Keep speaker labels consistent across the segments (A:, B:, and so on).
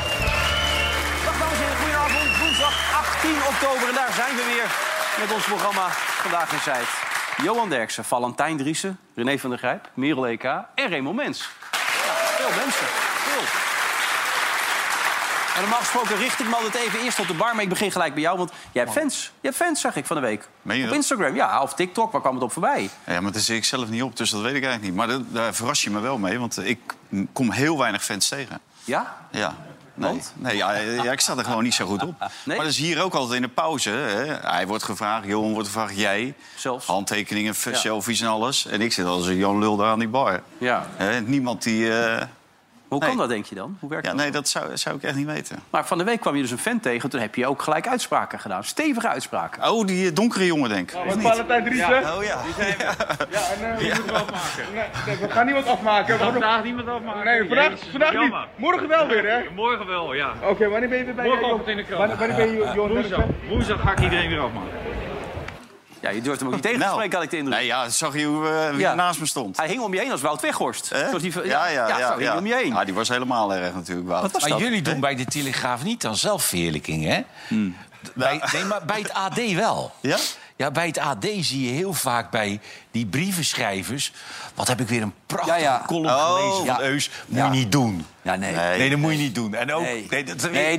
A: Dag dames en heren, goedenavond. Woensdag 18 oktober en daar zijn we weer met ons programma Vandaag in Zuid. Johan Derksen, Valentijn Driessen, René van der Grijp, Merel EK en Raymond Mens. Ja, veel mensen. Veel. En normaal gesproken richt ik me altijd even eerst op de bar, maar ik begin gelijk bij jou. Want jij hebt fans. Je hebt fans, zag ik van de week.
B: Meen je
A: op
B: dat?
A: Instagram, ja, of TikTok, waar kwam het op voorbij?
B: Ja, maar daar zie ik zelf niet op, dus dat weet ik eigenlijk niet. Maar dat- daar verras je me wel mee, want ik kom heel weinig fans tegen.
A: Ja?
B: Ja. Nee,
A: Want?
B: nee ja, ja, ik sta er gewoon niet zo goed op. Maar dat is hier ook altijd in de pauze. Hè. Hij wordt gevraagd, Johan wordt gevraagd, jij.
A: Zelfs.
B: Handtekeningen, f-
A: Ja.
B: selfies en alles. En ik zit als een Jan Lul daar aan die bar.
A: Ja.
B: Hè, niemand die... eh,
A: Hoe
B: Nee.
A: kan dat, denk je dan? Hoe werkt
B: ja,
A: dat?
B: nee, dat zou, zou ik echt niet weten.
A: Maar van de week kwam je dus een fan tegen. Toen heb je ook gelijk uitspraken gedaan. Stevige uitspraken.
B: Oh, die eh, donkere jongen, denk ik. Of
C: Met
B: niet?
C: Valentijn Driessen?
B: Oh ja.
C: Ja, en eh, we moeten wel afmaken. Nee, nee, we gaan niemand afmaken. We hadden-
D: Vandaag niemand afmaken.
C: Nee, vandaag,
D: Jezus,
C: vandaag niet.
D: jammer.
C: Morgen wel weer, hè?
D: Morgen wel, ja.
C: Oké, wanneer ben je weer bij
D: Morgenochtend in de krant.
C: Wanneer, wanneer ben je Johan
D: Woensdag,
C: Derksen?
D: woensdag ga ik iedereen weer afmaken.
A: Ja, je durft hem ook niet tegen te
B: Nou.
A: spreken, had ik de indruk.
B: Nee, ja, zag je hoe, eh, wie
A: Ja.
B: er naast me stond?
A: Hij hing om je heen als Wout Weghorst.
B: Hè?
A: Zoals die-
B: ja, ja, ja.
A: zo hing hij om je heen.
B: Ja, die was helemaal erg natuurlijk, Wout.
A: Wat was
E: Maar
A: dat?
E: jullie doen bij de Telegraaf niet dan zelfverheerlijking, hè? Bij, nee, maar bij het AD wel.
B: Ja?
E: Ja, bij het AD zie je heel vaak bij die brievenschrijvers... wat heb ik weer een prachtige
A: Ja, ja.
E: column
B: Oh.
E: gelezen van
B: Ja.
E: Eus. Moet
F: Ja.
E: je niet doen.
F: Ja, nee.
B: Nee.
F: Nee,
E: Nee, dat moet je niet doen. En ook, nee. dat,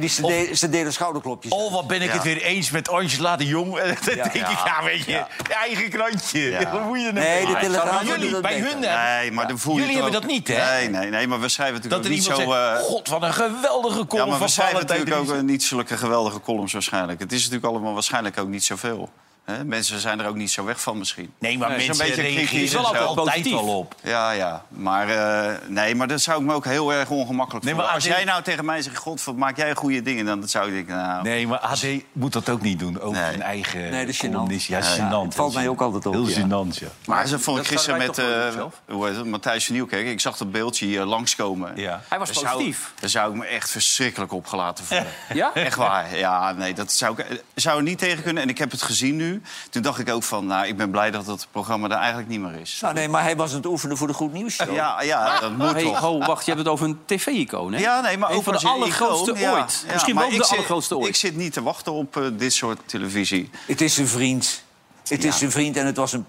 F: die, ze,
E: of,
F: deden- ze deden schouderklopjes.
E: oh, wat ben ik
B: Ja.
E: het weer eens met Angela de Jong. En dan denk ik, ja, weet je, je eigen krantje. Wat moet je nou
F: Nee,
E: mee?
F: de Telegraaf
E: Maar
F: doet
E: jullie,
F: dat
E: bij
F: beter.
E: hun...
B: Nee, maar dan voel je
E: Jullie
B: het
E: hebben
B: ook-
E: dat niet, hè?
B: Nee, nee, nee, maar we schrijven
E: Dat
B: natuurlijk
E: er
B: ook niet
E: iemand
B: zo...
E: zegt,
B: eh,
E: god, wat een geweldige
B: ja,
E: column
B: maar we
E: van
B: schrijven
E: Valentijn
B: natuurlijk ook
E: Driessen."
B: eh, niet zulke geweldige columns waarschijnlijk. Het is natuurlijk allemaal waarschijnlijk ook niet zoveel. hè? mensen zijn er ook niet zo weg van misschien.
E: Nee, maar
B: het is een
E: mensen
B: beetje
E: reageren
B: kritisch
E: er
B: en zo.
E: altijd
A: Positief.
E: wel op.
B: Ja, ja. Maar, eh, nee, maar dat zou ik me ook heel erg ongemakkelijk
E: Nee,
B: voelen.
E: maar
B: Als
E: AD
B: jij nou tegen mij zegt, god, wat maak jij goede dingen? Dan zou ik denken, nou...
E: Nee, maar AD moet dat ook niet doen. Ook
B: Nee.
E: zijn eigen
F: Nee, dat is gênant.
E: columnist. Ja,
F: Ja,
E: gênant.
F: het valt
E: Heel
F: mij ook altijd op,
E: Heel
F: ja.
E: gênant, ja.
B: Maar ze vond ik
A: dat zouden
B: gisteren
A: wij
B: met
A: toch wel
B: eh,
A: doen zelf?
B: hoe heet het, Matthijs van Nieuwkerk... ik zag dat beeldje hier langskomen.
E: Ja.
A: Hij was
B: Daar
A: positief.
B: Zou, daar zou ik me echt verschrikkelijk op gelaten voelen.
A: Ja?
B: Echt waar. Ja, nee, dat zou ik eh, zou er niet tegen kunnen. En ik heb het gezien nu. Toen dacht ik ook van, nou, ik ben blij dat dat programma er eigenlijk niet meer is.
F: Nou, nee, maar hij was aan het oefenen voor de Goed Nieuws Show.
B: Ja, ja, dat moet
A: Ah, Hey,
B: toch.
A: ho, wacht, je hebt het over een tv-icoon, hè?
B: Ja, nee, maar
A: Een
B: ook
A: van de
B: als een
A: allergrootste
B: icoon, ja.
A: ooit.
B: Ja,
A: Misschien
B: maar
A: wel de
B: ik zit-
A: allergrootste ooit.
B: Ik zit niet te wachten op eh, dit soort televisie.
F: Het is een vriend. Het is een vriend en het was een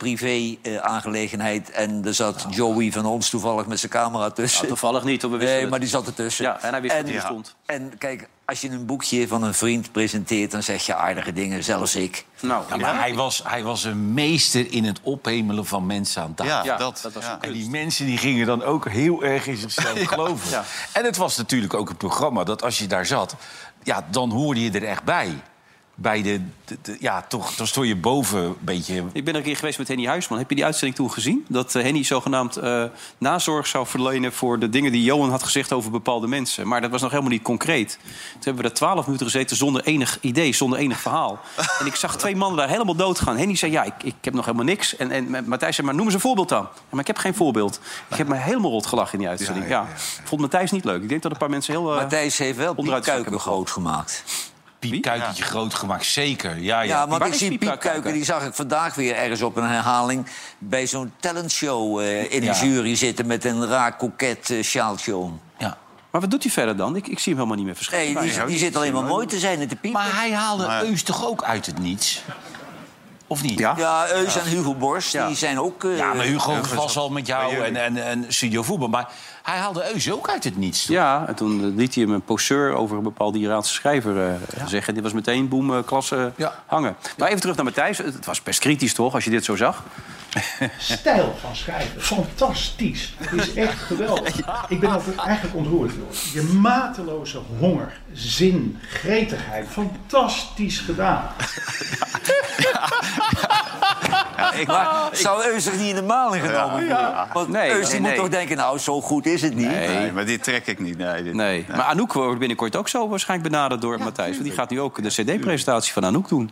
F: privé-aangelegenheid. en er zat Joey van ons toevallig met zijn camera tussen.
A: Nou, toevallig niet, want we wisten
F: Nee, maar
A: het.
F: die zat ertussen.
A: Ja, en hij wist dat hij bestond.
F: En kijk, als je een boekje van een vriend presenteert... dan zeg je aardige dingen, zelfs ik.
A: Nou,
E: Ja, maar hij was, hij was een meester in het ophemelen van mensen aan tafel.
B: Ja,
A: Nou, Ja,
B: dat.
A: dat was
B: ja.
A: een
E: En die mensen die gingen dan ook heel erg in zichzelf geloven.
A: Ja.
E: En het was natuurlijk ook een programma dat als je daar zat... Ja, dan hoorde je er echt bij. Bij de, de- de- ja, toch, dan stond je boven een beetje...
A: Ik ben er een keer geweest met Henny Huisman. Heb je die uitzending toen gezien? Dat eh, Henny zogenaamd eh, nazorg zou verlenen voor de dingen die Johan had gezegd over bepaalde mensen. Maar dat was nog helemaal niet concreet. Toen hebben we daar twaalf minuten gezeten zonder enig idee, zonder enig verhaal. En ik zag twee mannen daar helemaal doodgaan. Henny zei, ja, ik, ik heb nog helemaal niks. En, en Matthijs zei, maar noem eens een voorbeeld dan. Ja, maar ik heb geen voorbeeld. Ik heb me helemaal rot gelachen in die uitzending. Ja, Ik Vond Matthijs niet leuk. Ik denk dat een paar mensen heel... eh,
F: Matthijs heeft wel Piet
A: onderuit zakken
F: Kuiken
A: begon.
F: groot gemaakt.
E: Piep Kuikentje groot gemaakt, zeker. ja.
F: Ja, want
A: Waar
F: ik
A: is
F: zie
A: Piet
F: Piet Kuiken,
A: Kuiken?
F: die zag ik vandaag weer ergens op een herhaling... bij zo'n talentshow eh in
E: Ja.
F: de jury zitten met een raar koket eh, sjaaltje om.
E: ja.
A: Maar wat doet hij verder dan? Ik, ik zie hem helemaal niet meer verschijnen.
F: Nee, die, die zit alleen maar mooi te zijn en te piepen.
E: Maar hij haalde Eus toch ook uit het niets? Of niet?
A: Ja.
F: Ja, Eus en Hugo Borst,
A: Ja.
F: die zijn ook... eh,
E: Ja, maar Hugo was al met jou en, en, en Studio Voetbal. Maar hij haalde Eus ook uit het niets. toch?
A: Ja, en toen eh, liet hij hem een poseur over een bepaalde Iraanse schrijver eh, zeggen. En dit was meteen boem, eh, klasse eh,
E: Ja.
A: hangen. Maar even terug naar Matthijs. Het het was best kritisch toch, als je dit zo zag?
G: stijl van schrijven. Fantastisch. Het is echt geweldig. Ik ben altijd eigenlijk ontroerd. joh. Je mateloze honger, zin, gretigheid. Fantastisch gedaan.
B: ik-
F: Maar zou Eus zich niet in de maling genomen worden? Want
A: Ah. Nee,
F: Eus die
A: nee,
F: moet
A: nee.
F: toch denken, nou, zo goed is het niet.
B: Nee, maar dit trek ik niet. Nee, dit-
A: Nee, maar Anouk wordt binnenkort ook zo waarschijnlijk benaderd door Matthijs. Want die gaat nu ook de CD-presentatie van Anouk doen.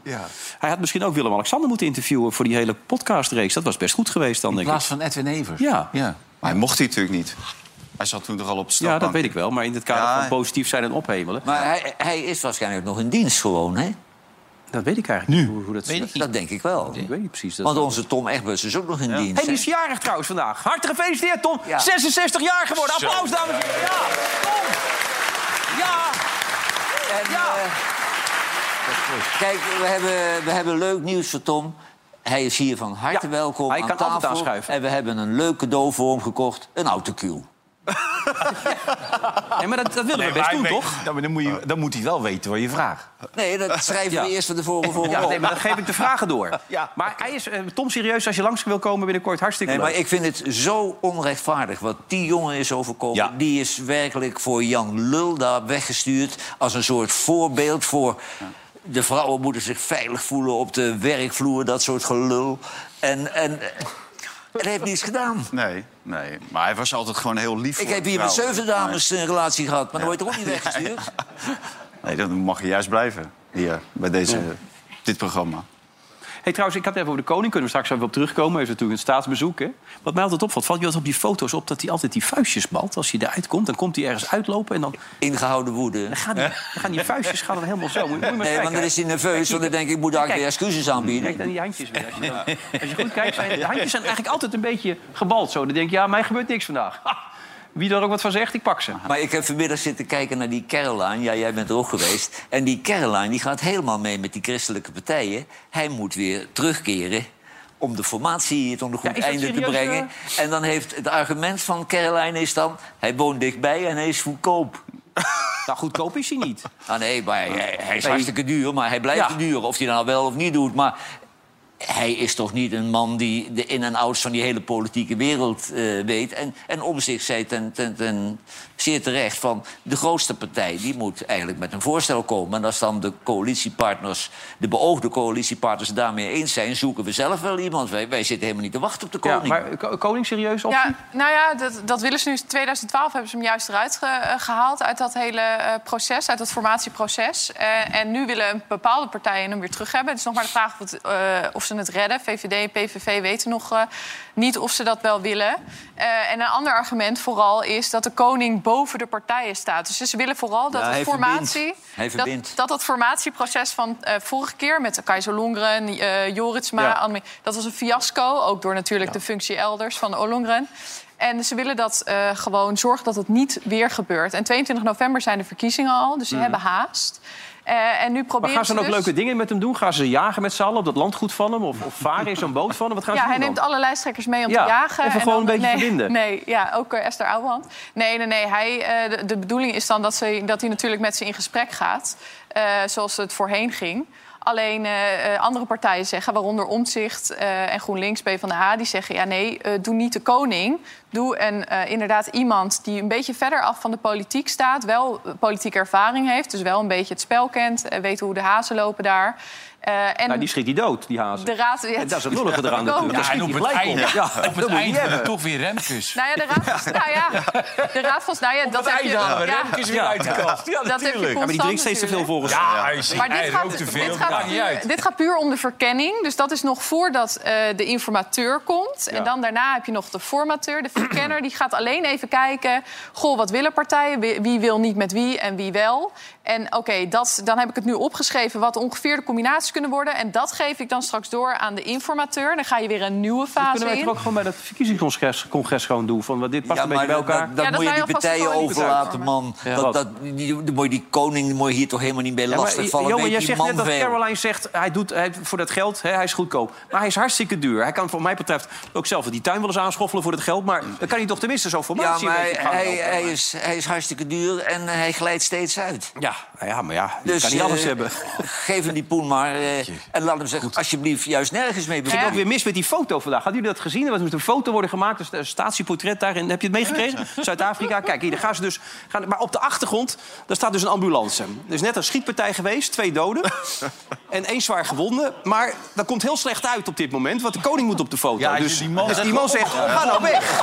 A: Hij had misschien ook Willem-Alexander moeten interviewen voor die hele podcastreeks. Dat was best goed geweest dan,
E: In
A: denk ik.
E: plaats van Edwin Evers.
A: Ja.
E: ja.
B: Maar hij mocht hij natuurlijk niet. Hij zat toen toch al op de
A: Ja,
B: stapbank.
A: dat weet ik wel. Maar in het kader
B: Ja.
A: van positief zijn en ophemelen.
F: Maar hij, hij is waarschijnlijk nog in dienst gewoon, hè?
A: Dat weet ik eigenlijk niet hoe, hoe dat zit.
F: Dat, denk ik wel.
A: Ik weet niet precies. Dat
F: Want onze Tom Egbers is ook nog in dienst.
A: Hey, die is jarig trouwens vandaag. Hartelijk gefeliciteerd, Tom.
F: Ja.
A: 66 jaar geworden. Applaus, dames en heren. Ja, Tom. Ja,
F: hè? En,
A: ja.
F: eh, kijk, we hebben, we hebben leuk nieuws voor Tom. Hij is hier van harte
A: Ja,
F: welkom
A: hij
F: aan
A: kan altijd
F: tafel.
A: aanschuiven.
F: En we hebben een leuk cadeau voor hem gekocht. Een autocue.
A: Nee, maar dat, dat willen we best doen, toch?
E: Ja, Nou, maar dan, moet je, dan moet hij wel weten wat je vraagt.
F: Nee, dat schrijven
A: Ja.
F: we eerst van tevoren voor hem
A: Ja,
F: op.
A: nee, maar dan geef ik de vragen door.
E: Ja.
A: Maar hij is, eh, Tom, serieus, als je langs wil komen binnenkort, hartstikke
F: Nee, maar
A: leuk.
F: ik vind het zo onrechtvaardig wat die jongen is overkomen.
E: Ja.
F: Die is werkelijk voor Jan Lul daar weggestuurd als een soort voorbeeld voor. De vrouwen moeten zich veilig voelen op de werkvloer, dat soort gelul. En, en, eh, en hij heeft niets gedaan.
B: Nee, nee. Maar hij was altijd gewoon heel lief
F: Ik
B: voor
F: heb hier met
B: vrouwen.
F: zeven dames een relatie gehad, maar dan word je toch ook niet
B: Ja, ja.
F: weggestuurd?
B: Nee, dat mag je juist blijven. Hier, bij deze, dit programma.
A: Hey, trouwens, ik had het even over de koning. Kunnen we straks even op terugkomen. Hij is natuurlijk een staatsbezoek, hè? Wat mij altijd opvalt, valt je altijd op die foto's op... dat hij altijd die vuistjes balt. Als hij eruit komt, dan komt hij ergens uitlopen... en dan
F: Ingehouden woede.
A: gaan die, dan gaan die vuistjes gaan dan helemaal zo. Moet, moet je maar
F: Nee, want
A: kijken.
F: dan is hij nerveus, want dan denk ik, ik moet eigenlijk weer excuses
A: Kijk dan
F: aanbieden.
A: die handjes weer. Als je, dan- als je goed kijkt, zijn de handjes zijn eigenlijk altijd een beetje gebald. Zo. Dan denk je, ja, mij gebeurt niks vandaag. Ha, wie er ook wat van zegt, ik pak ze.
F: Maar ik heb vanmiddag zitten kijken naar die Caroline. Ja, jij bent er ook geweest. En die Caroline die gaat helemaal mee met die christelijke partijen. Hij moet weer terugkeren om de formatie tot een goed
A: is dat
F: einde te
A: serieus, eh?
F: brengen. En dan heeft het argument van Caroline is dan... hij woont dichtbij en hij is goedkoop.
A: Nou, goedkoop is hij niet.
F: Ah nee, maar hij, hij is hartstikke duur, maar hij blijft
A: Ja.
F: duur. Of hij dat nou wel of niet doet, maar... Hij is toch niet een man die de in- en outs van die hele politieke wereld eh, weet. En, en om zich zei ten, ten, ten, zeer terecht van... de grootste partij die moet eigenlijk met een voorstel komen. En als dan de coalitiepartners, de beoogde coalitiepartners het daarmee eens zijn... zoeken we zelf wel iemand. Wij, wij zitten helemaal niet te wachten op de koning.
A: Ja, maar ko- koning serieus op?
H: Ja, nou ja, dat, dat willen ze nu. 2012 hebben ze hem juist eruit ge- eh, gehaald uit dat hele eh, proces, uit dat formatieproces. Eh, en nu willen bepaalde partijen hem weer terug hebben. Het is nog maar de vraag of, het, eh, of ze het redden. VVD en PVV weten nog eh, niet of ze dat wel willen. Eh, en een ander argument vooral is dat de koning boven de partijen staat. Dus ze willen vooral dat
F: Ja,
H: de
F: hij
H: formatie...
F: verbindt. Hij
H: dat,
F: verbindt.
H: dat dat formatieproces van eh, vorige keer met Keizer Longren, eh, Joritsma,
A: Ja.
H: Annemie- dat was een fiasco. Ook door natuurlijk de functie elders van Olongren. En ze willen dat eh, gewoon zorgen dat het niet weer gebeurt. En 22 november zijn de verkiezingen al, dus ze hebben haast. Eh, en nu proberen
A: Mhm. Maar gaan ze dan ook
H: dus-
A: leuke dingen met hem doen? Gaan ze jagen met z'n allen op dat landgoed van hem? Of, of varen in zo'n boot van hem? Wat gaan
H: Ja,
A: ze
H: hij
A: doen
H: neemt
A: dan?
H: alle lijsttrekkers mee om
A: Ja,
H: te jagen.
A: even
H: en
A: gewoon
H: dan-
A: een beetje
H: nee,
A: verbinden.
H: Nee, ja, ook eh, Esther Ouwehand. Nee, nee, nee. Hij, eh, de, de bedoeling is dan dat, ze, dat hij natuurlijk met ze in gesprek gaat. eh, zoals het voorheen ging. Alleen eh, eh, andere partijen zeggen, waaronder Omtzigt eh, en GroenLinks, PvdA... die zeggen, ja nee, eh, doe niet de koning. Doe een, eh, inderdaad iemand die een beetje verder af van de politiek staat... wel eh, politieke ervaring heeft, dus wel een beetje het spel kent... eh, weet hoe de hazen lopen daar. Eh, en
A: Nou, die schiet die dood, die hazen.
H: de raad... ja,
A: En dat is het lullige eraan
H: Ja,
A: natuurlijk.
H: en
A: Daar schiet
E: op
A: hij
E: het
A: gelijk
E: einde-
A: op. Ja,
E: Op
A: dat
E: het
A: moet je niet
E: eind hebben we
A: hebben.
E: toch weer Remkes.
H: Nou ja, de raad was... Nou ja, de raad was... Nou ja, dat heb je... Ja,
E: weer uit de kast. Ja,
H: dat heb je constant
A: Maar die drinkt steeds te veel volgens
H: natuurlijk.
A: mij.
E: Ja, hij,
H: Maar dit
E: hij
H: gaat,
E: rookt te
H: dit
E: veel.
H: gaat
E: maakt niet
H: puur-
E: uit.
H: dit gaat puur om de verkenning. Dus dat is nog voordat eh, de informateur komt. En dan daarna heb je nog de formateur, de verkenner. Die gaat alleen even kijken... Goh, wat willen partijen? Wie, wie wil niet met wie en wie wel? En oké, dat dan heb ik het nu opgeschreven... wat ongeveer de combinaties kunnen worden. En dat geef ik dan straks door aan de informateur. Dan ga je weer een nieuwe
E: Dus
H: fase
A: Kunnen wij
H: in.
A: het ook gewoon bij dat verkiezingscongres congres gewoon doen? Van, wat dit past
F: Ja,
A: een beetje
F: maar
A: bij
F: dat,
A: elkaar.
F: dat,
H: Ja, dat
F: moet je
H: wij
F: die
H: alvast
F: partijen
H: de koning
F: overlaten,
H: besluiten.
A: Ja.
F: man. dat, dat, die, die, moet je die koning moet je hier toch helemaal niet mee
A: Ja, maar,
F: lastigvallen.
A: jongen,
F: Weet
A: jij
F: die
A: zegt
F: man
A: net dat
F: veel.
A: Caroline zegt... hij doet hij, voor dat geld, hè, hij is goedkoop. Maar hij is hartstikke duur. Hij kan voor mij betreft ook zelf die tuin wel eens aanschoffelen voor dat geld. Maar dan kan hij toch tenminste zo'n
F: Mm. Ja,
A: formatie
F: maar
A: een
F: hij,
A: beetje gaan
F: hij,
A: lopen.
F: hij is, hij is hartstikke duur en hij glijdt steeds uit.
A: Ja, nou ja, maar ja, je
F: Dus,
A: kan niet alles
F: eh,
A: hebben.
F: Geef hem die poen maar. eh, en laat hem zich alsjeblieft juist nergens mee
A: ging
F: bemoeien.
A: ook weer mis met die foto vandaag. Hadden jullie dat gezien? Er moest een foto worden gemaakt, dus een statieportret daarin. Heb je het meegekregen? Zuid-Afrika. Kijk, hier daar gaan ze dus. Gaan, maar op de achtergrond, daar staat dus een ambulance. Er is net een schietpartij geweest, twee doden en één zwaar gewonde. Maar dat komt heel slecht uit op dit moment, want de koning moet op de foto.
B: Ja, als je
A: dus
B: die man
A: dus
B: zegt,
A: die man zegt: ga nou weg.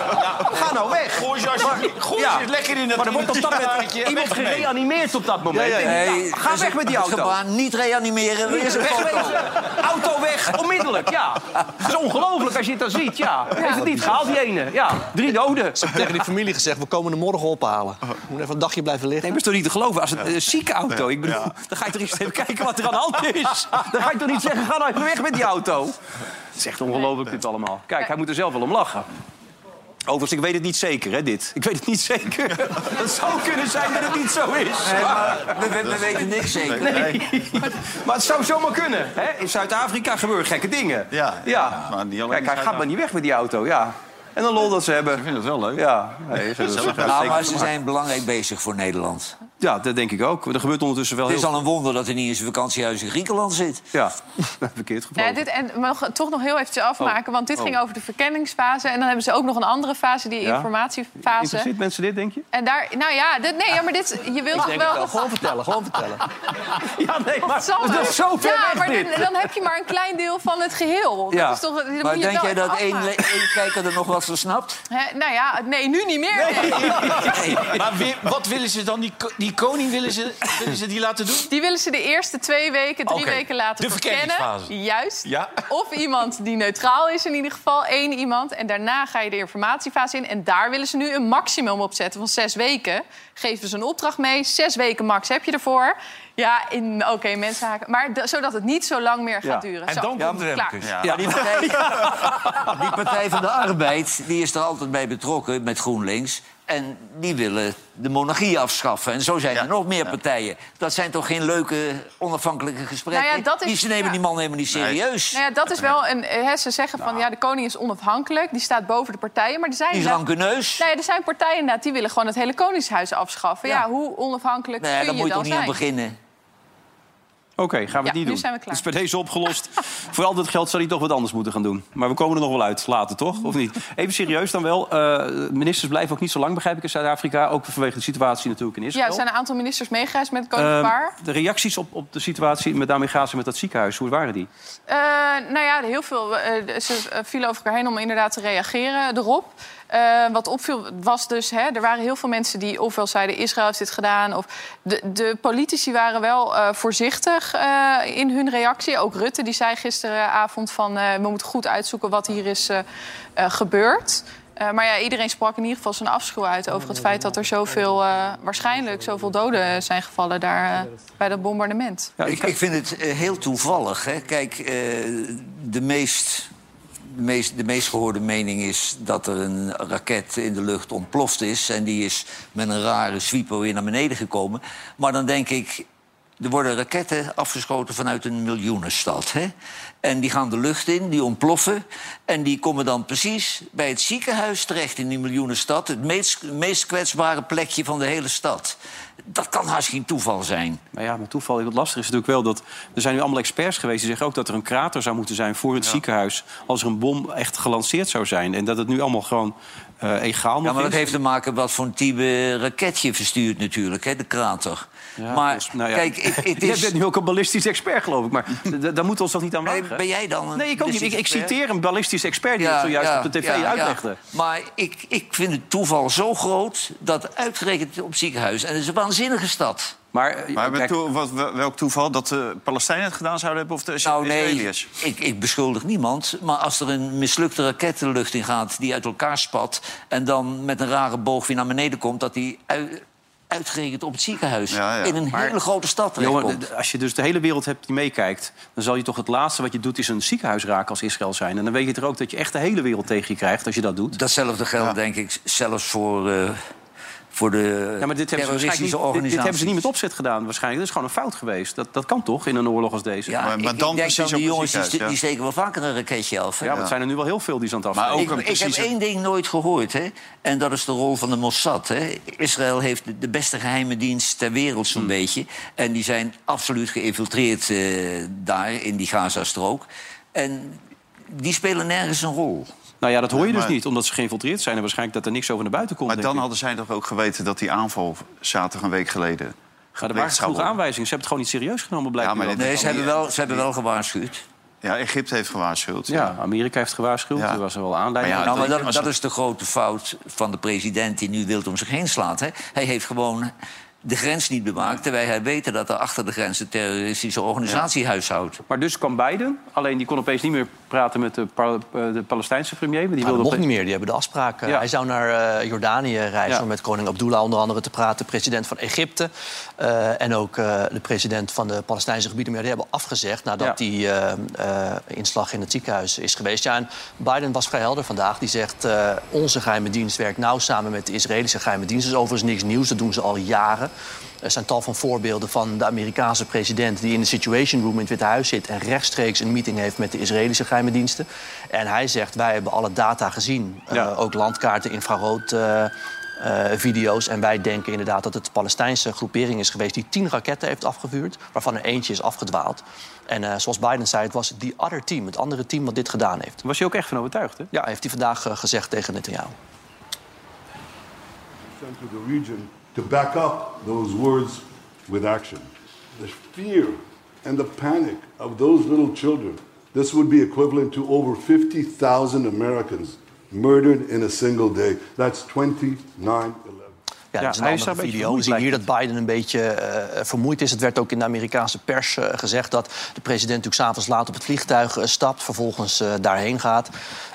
A: Ga nou weg.
B: Gooi ze alsjeblieft- gooi ze lekker in dat-
A: Maar er wordt op dat
B: in dat
A: moment
B: jaren.
A: iemand
B: Weg ermee.
A: gereanimeerd op dat moment.
B: Ja, ja, ja.
A: Ik denk,
F: Nee,
A: ja, ga
F: dus
A: weg met die
F: het
A: auto.
F: gebaar niet reanimeren. Er is een foto.
A: Wegwezen, auto weg, onmiddellijk, ja. Het is ongelooflijk als je het dan ziet, ja. Heeft het niet gehaald, die ene. Ja, drie doden.
I: Tegen die familie gezegd, we komen hem morgen ophalen. Moet even een dagje blijven liggen.
A: Nee, maar is toch niet te geloven? Als het een zieke auto, ik bedoel, dan ga je toch eens even kijken wat er aan de hand is. Dan ga je toch niet zeggen, ga nou even weg met die auto. Het is echt ongelooflijk dit allemaal. Kijk, hij moet er zelf wel om lachen. Overigens, ik weet het niet zeker, hè, dit. Ik weet het niet zeker. Het zou kunnen zijn dat het niet zo is.
F: We, we- we weten niks zeker.
A: Maar het zou zomaar kunnen. Hè? In Zuid-Afrika gebeuren gekke dingen.
B: Ja, ja, maar niet alleen
A: Kijk,
B: in
A: hij gaat
B: Zuid-Afrika.
A: maar niet weg met die auto, ja. En een lol dat ze hebben. Ik vind het wel leuk. Ja, Dus nee, ze hebben-
F: Nou, maar ze zijn belangrijk bezig voor Nederland.
A: ja dat denk ik ook. Er gebeurt ondertussen wel
F: Het is
A: heel...
F: al een wonder dat hij niet in zijn vakantiehuis in Griekenland zit.
A: Ja, verkeerd gevlogen.
H: Nee, dit, en maar nog- toch nog heel eventjes
A: Oh.
H: afmaken, want dit ging over de verkenningsfase. En dan hebben ze ook nog een andere fase, die
A: Ja.
H: informatiefase.
A: Interesseert mensen dit, denk je?
H: En daar, nou ja, dit, nee, ja, maar dit, je wilt toch wel... dat-
I: Gewoon vertellen, gewoon vertellen.
A: Ja, nee, maar
H: Zal
A: dat is
H: wel.
A: nog zo ver
H: Ja,
A: weg,
H: maar
A: dit.
H: dan, dan heb je maar een klein deel van het geheel.
A: Ja.
H: Dat is toch, dan moet
F: Maar
H: je
F: denk
H: wel
F: jij dat
H: even
F: één, le-
H: afmaken.
F: één kijker er nog wat van snapt?
H: Hè, nou ja, nee, nu niet meer. nee.
I: Maar wi- wat willen ze dan? Die, ko- die koning willen ze, willen ze die laten doen?
H: Die willen ze de eerste twee weken, drie
I: Oké,
H: weken laten
I: de verkenningsfase.
H: verkennen. Juist.
I: Ja.
H: Of iemand die neutraal is in ieder geval, één iemand. En daarna ga je de informatiefase in. En daar willen ze nu een maximum op zetten van zes weken. Geven ze een opdracht mee. Zes weken max heb je ervoor. Ja, in- oké, mensen haken. Maar d- zodat het niet zo lang meer gaat
A: Ja.
H: duren.
E: En
H: Zo,
E: dan komt de
H: klaar.
E: Remkes.
F: Ja, die partij, die partij van de Arbeid die is er altijd bij betrokken met GroenLinks. En die willen de monarchie afschaffen. En zo zijn er nog meer partijen. Dat zijn toch geen leuke onafhankelijke gesprekken?
H: Nou ja, dat is-
F: die, ze nemen
H: ja.
F: die man helemaal niet serieus.
H: Nou ja, dat is wel een. eh, Hè, ze zeggen van ja, de koning is onafhankelijk. Die staat boven de partijen. Maar er zijn
F: Die is
H: inderdaad-
F: rankeneus.
H: Nou ja, er zijn partijen inderdaad, die willen gewoon het hele koningshuis afschaffen. Ja,
F: Ja.
H: hoe onafhankelijk
F: Nee,
H: kun
F: daar
H: je
F: moet je toch
H: dan
F: niet
H: zijn?
F: aan beginnen.
A: Oké, gaan we
H: Ja,
A: het niet
H: nu
A: doen.
H: zijn we klaar.
A: Het is bij deze opgelost. Voor al dat geld zou hij toch wat anders moeten gaan doen. Maar we komen er nog wel uit, later toch? Of niet? Even serieus dan wel. eh, ministers blijven ook niet zo lang, begrijp ik, in Zuid-Afrika. Ook vanwege de situatie natuurlijk in
H: Ja,
A: Israël.
H: er zijn een aantal ministers meegereisd met het
A: Ehm,
H: koninkpaar.
A: de reacties op, op de situatie met daarmee gaan ze met dat ziekenhuis, hoe waren die?
H: Eh, nou ja, heel veel. eh, ze eh, vielen over elkaar heen om inderdaad te reageren erop. Eh, wat opviel was dus, hè, er waren heel veel mensen die ofwel zeiden Israël heeft dit gedaan. Of de, de politici waren wel eh, voorzichtig eh, in hun reactie. Ook Rutte die zei gisteravond van eh, we moeten goed uitzoeken wat hier is eh, eh, gebeurd. Eh, maar ja, iedereen sprak in ieder geval zijn afschuw uit over het feit dat er zoveel, eh, waarschijnlijk zoveel doden zijn gevallen daar eh, bij dat bombardement.
A: Ja,
F: ik,
A: ik,
F: ik vind het eh, heel toevallig. Hè. Kijk, eh, de, meest, de, meest, de meest gehoorde mening is dat er een raket in de lucht ontploft is. En die is met een rare sweeper weer naar beneden gekomen. Maar dan denk ik. Er worden raketten afgeschoten vanuit een miljoenenstad. Hè? En die gaan de lucht in, die ontploffen. En die komen dan precies bij het ziekenhuis terecht in die miljoenenstad. Het meest, meest kwetsbare plekje van de hele stad. Dat kan haast geen toeval zijn.
A: maar Nou ja, met toeval, wat lastig is natuurlijk wel dat... Er zijn nu allemaal experts geweest die zeggen ook dat er een krater zou moeten zijn... voor het ziekenhuis, als er een bom echt gelanceerd zou zijn. En dat het nu allemaal gewoon eh, egaal
F: Ja,
A: nog
F: maar dat
A: is.
F: heeft te maken wat voor een type raket je verstuurt natuurlijk, hè, de krater. maar
A: Dus, nou ja.
F: kijk, het, het
A: Jij
F: is...
A: bent nu ook een ballistisch expert, geloof ik. Maar d- d- daar moeten we ons toch niet aan
F: Nee,
A: wagen?
F: ben jij dan een
A: Nee, ik ook niet. Ik, ik
F: ballistisch expert?
A: citeer een ballistisch expert die het zojuist op de tv
F: ja, ja.
A: uitlegde.
F: Maar ik, ik vind het toeval zo groot dat uitgerekend op ziekenhuis... en het is een waanzinnige stad.
A: Maar, eh,
B: Maar met
A: kijk,
B: toe- wat, welk toeval dat de Palestijnen het gedaan zouden hebben of de
F: Nou nee,
B: Israëliërs?
F: ik, ik beschuldig niemand. Maar als er een mislukte raket de lucht in gaat die uit elkaar spat... en dan met een rare boog weer naar beneden komt... dat die uit- uitgerekend op het ziekenhuis
B: Ja, ja.
F: in een
B: Maar-
F: hele grote stad terechtkomt.
A: Jongen, d- als je dus de hele wereld hebt die meekijkt... dan zal je toch het laatste wat je doet is een ziekenhuis raken als Israël zijn. En dan weet je toch ook dat je echt de hele wereld tegen je krijgt als je dat doet.
F: Datzelfde geldt, denk ik, zelfs voor, eh, voor de
A: Ja, maar dit hebben, ze waarschijnlijk
F: terroristische
A: niet, dit, dit
F: organisaties.
A: hebben ze niet met opzet gedaan waarschijnlijk. Dat is gewoon een fout geweest. Dat, dat kan toch in een oorlog als deze?
F: Ja,
A: maar,
B: maar
F: ik- ik,
B: dan
F: denk
B: precies
F: dan
B: op
F: die
B: een
F: jongens die,
B: ziekenhuis,
F: st-
B: ja.
F: die steken wel vaker een raketje af. hè?
A: ja, maar het zijn er nu wel heel veel die ze aan het
B: Maar
A: afsteken.
B: ook
F: Ik,
B: een
F: ik heb
B: precieze-
F: één ding nooit gehoord, hè? en dat is de rol van de Mossad. Hè? Israël heeft de, de beste geheime dienst ter wereld,
B: Hmm.
F: zo'n beetje. En die zijn absoluut geïnfiltreerd eh, daar in die Gazastrook. En die spelen nergens een rol.
A: Nou ja, dat hoor je dus
B: maar-
A: niet, omdat ze geïnfiltreerd zijn... en waarschijnlijk dat er niks over naar buiten komt.
B: Maar
A: denk
B: dan
A: ik.
B: hadden zij toch ook geweten dat die aanval zaterdag een week geleden
A: Maar er
B: gepleegd
A: waren
B: zou
A: genoeg
B: worden.
A: aanwijzingen. Ze hebben het gewoon niet serieus genomen, blijkbaar.
B: Ja, maar
F: Nee, ze hebben wel, ze hebben wel gewaarschuwd.
B: Ja, Egypte heeft gewaarschuwd.
A: Ja, Amerika heeft gewaarschuwd.
B: Ja.
A: Er was er wel aanleiding.
B: Maar ja,
F: Nou, maar
B: dat-
F: dat, dat is de grote fout van de president die nu wild om zich heen slaat. Hè? Hij heeft gewoon de grens niet bewaakt... terwijl hij weet dat er achter de grens een terroristische organisatie huishoudt.
A: Maar dus kwam Biden. Alleen die kon opeens niet meer praten met de, Pal- eh, de Palestijnse premier. want Die wilde
J: mocht
A: opeens-
J: niet meer, die hebben de afspraak. eh,
A: Ja.
J: Hij zou naar eh, Jordanië reizen
A: Ja.
J: om met koning Abdullah onder andere te praten. President van Egypte eh, en ook eh, de president van de Palestijnse gebieden. Maar die hebben afgezegd nadat
A: Ja.
J: die eh, eh, inslag in het ziekenhuis is geweest. Ja, en Biden was vrij helder vandaag. Die zegt, eh, onze geheime dienst werkt nauw samen met de Israëlische geheime dienst. Dat is overigens niks nieuws, dat doen ze al jaren. Er zijn tal van voorbeelden van de Amerikaanse president... die in de Situation Room in het Witte Huis zit... en rechtstreeks een meeting heeft met de Israëlische geheime diensten. En hij zegt, wij hebben alle data gezien.
A: Ja.
J: Eh, ook landkaarten, infrarood... eh, eh, video's. En wij denken inderdaad dat het de Palestijnse groepering is geweest... die tien raketten heeft afgevuurd, waarvan er eentje is afgedwaald. En eh, zoals Biden zei, het was die other team, het andere team wat dit gedaan heeft.
A: Was je ook echt van overtuigd, hè?
J: Ja, heeft hij vandaag eh, gezegd tegen Netanyahu.
K: to the region to back up those words with action. The fear and the panic of those little children, this would be equivalent to over 50,000 Americans murdered in a single day. That's 29
J: Ja,
A: Ja,
J: dat is een
A: hij is daar
J: andere
A: een beetje
J: video.
A: vermoeid, lijkt
J: We zien hier dat Biden een beetje eh, vermoeid is. Het werd ook in de Amerikaanse pers eh, gezegd... dat de president natuurlijk s'avonds laat op het vliegtuig eh, stapt... vervolgens eh, daarheen gaat.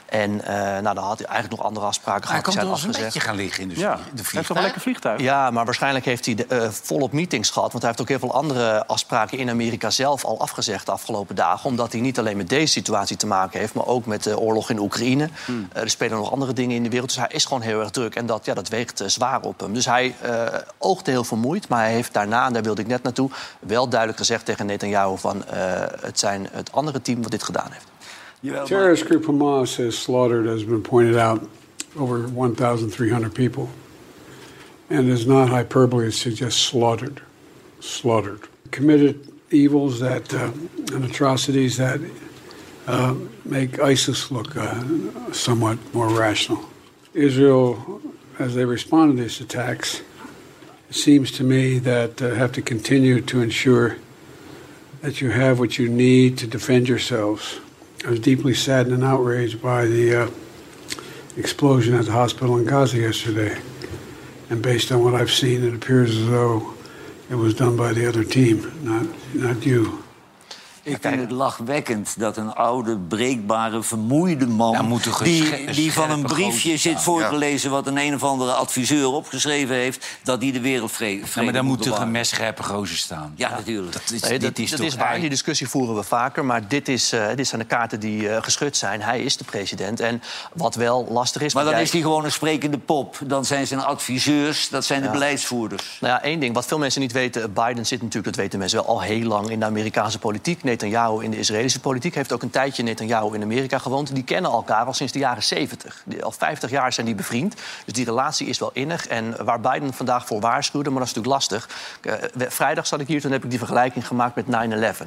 J: En eh, nou, dan had hij eigenlijk nog andere afspraken
E: Hij
J: gehad.
E: kan
J: die zijn
E: toch wel eens een
J: afgezegd.
E: beetje gaan liggen in de,
A: Ja,
E: ja. de
A: hij heeft toch wel lekker vliegtuig.
J: Ja, maar waarschijnlijk heeft hij de, eh, volop meetings gehad. Want hij heeft ook heel veel andere afspraken in Amerika zelf al afgezegd de afgelopen dagen. Omdat hij niet alleen met deze situatie te maken heeft, maar ook met de oorlog in Oekraïne. Eh, er spelen nog andere dingen in de wereld. Dus hij is gewoon heel erg druk. En dat, ja, dat weegt eh, zwaar op hem. Dus hij eh oogde heel vermoeid. Maar hij heeft daarna, en daar wilde ik net naartoe, wel duidelijk gezegd tegen Netanyahu van eh, het zijn het andere team wat dit gedaan heeft.
L: terrorist group Hamas has slaughtered, as been pointed out, over 1,300 people. And it's not hyperbole, it's just slaughtered. Slaughtered. Committed evils that, uh, and atrocities that uh, make ISIS look uh, somewhat more rational. Israel, as they respond to these attacks, it seems to me that uh, have to continue to ensure that you have what you need to defend yourselves. I was deeply saddened and outraged by the uh, explosion at the hospital in Gaza yesterday. And based on what I've seen, it appears as though it was done by the other team, not, not you.
F: Ik vind het lachwekkend dat een oude, breekbare, vermoeide man...
E: Ja, moet een gesche-
F: die, die van een
E: scherpe
F: briefje
E: gozer
F: zit
E: staan.
F: voorgelezen... wat een een of andere adviseur opgeschreven heeft... dat die de wereldvrede
E: Ja, maar daar moet toch
F: bewaren.
E: een messcherpe gozer staan.
F: Ja, natuurlijk.
E: Dat is,
J: Nee, dat,
E: dit is
J: dat
E: toch
J: is waar.
E: hij-
J: Die discussie voeren we vaker. Maar dit, is, eh, dit zijn de kaarten die eh, geschud zijn. Hij is de president. En wat wel lastig is...
F: Maar
J: want jij-
F: dan is hij gewoon een sprekende pop. Dan zijn zijn adviseurs, dat zijn de beleidsvoerders.
J: Nou ja, één ding. Wat veel mensen niet weten... Biden zit natuurlijk, dat weten mensen wel, al heel lang in de Amerikaanse politiek. Netanyahu in de Israëlische politiek. Heeft ook een tijdje Netanyahu in Amerika gewoond. Die kennen elkaar al sinds de jaren 70. Die- Al 50 jaar zijn die bevriend. Dus die relatie is wel innig. En waar Biden vandaag voor waarschuwde, maar dat is natuurlijk lastig. Eh, we- vrijdag zat ik hier, toen heb ik die vergelijking gemaakt met 9-11.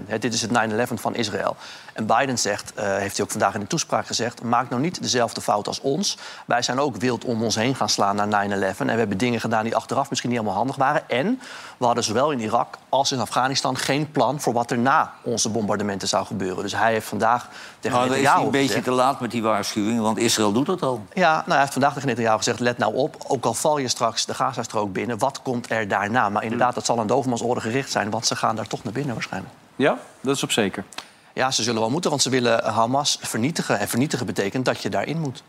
J: Hè, dit is het 9-11 van Israël. En Biden zegt, eh, heeft hij ook vandaag in de toespraak gezegd... maak nou niet dezelfde fout als ons. Wij zijn ook wild om ons heen gaan slaan na 9-11. En we hebben dingen gedaan die achteraf misschien niet helemaal handig waren. En we hadden zowel in Irak als in Afghanistan geen plan... voor wat er na onze bombardementen zou gebeuren. Dus hij heeft vandaag tegen
F: Nou, dan is hij
J: Netanyahu
F: een beetje
J: gezegd-
F: te laat met die waarschuwing, want Israël doet dat al.
J: ja, nou, hij heeft vandaag tegen Netanyahu gezegd... let nou op, ook al val je straks de Gazastrook binnen... wat komt er daarna? Maar inderdaad, dat zal aan dovenmansorde gericht zijn... want ze gaan daar toch naar binnen waarschijnlijk.
A: Ja, dat is op zeker.
J: Ja, ze zullen wel moeten, want ze willen Hamas vernietigen. En vernietigen betekent dat je daarin moet.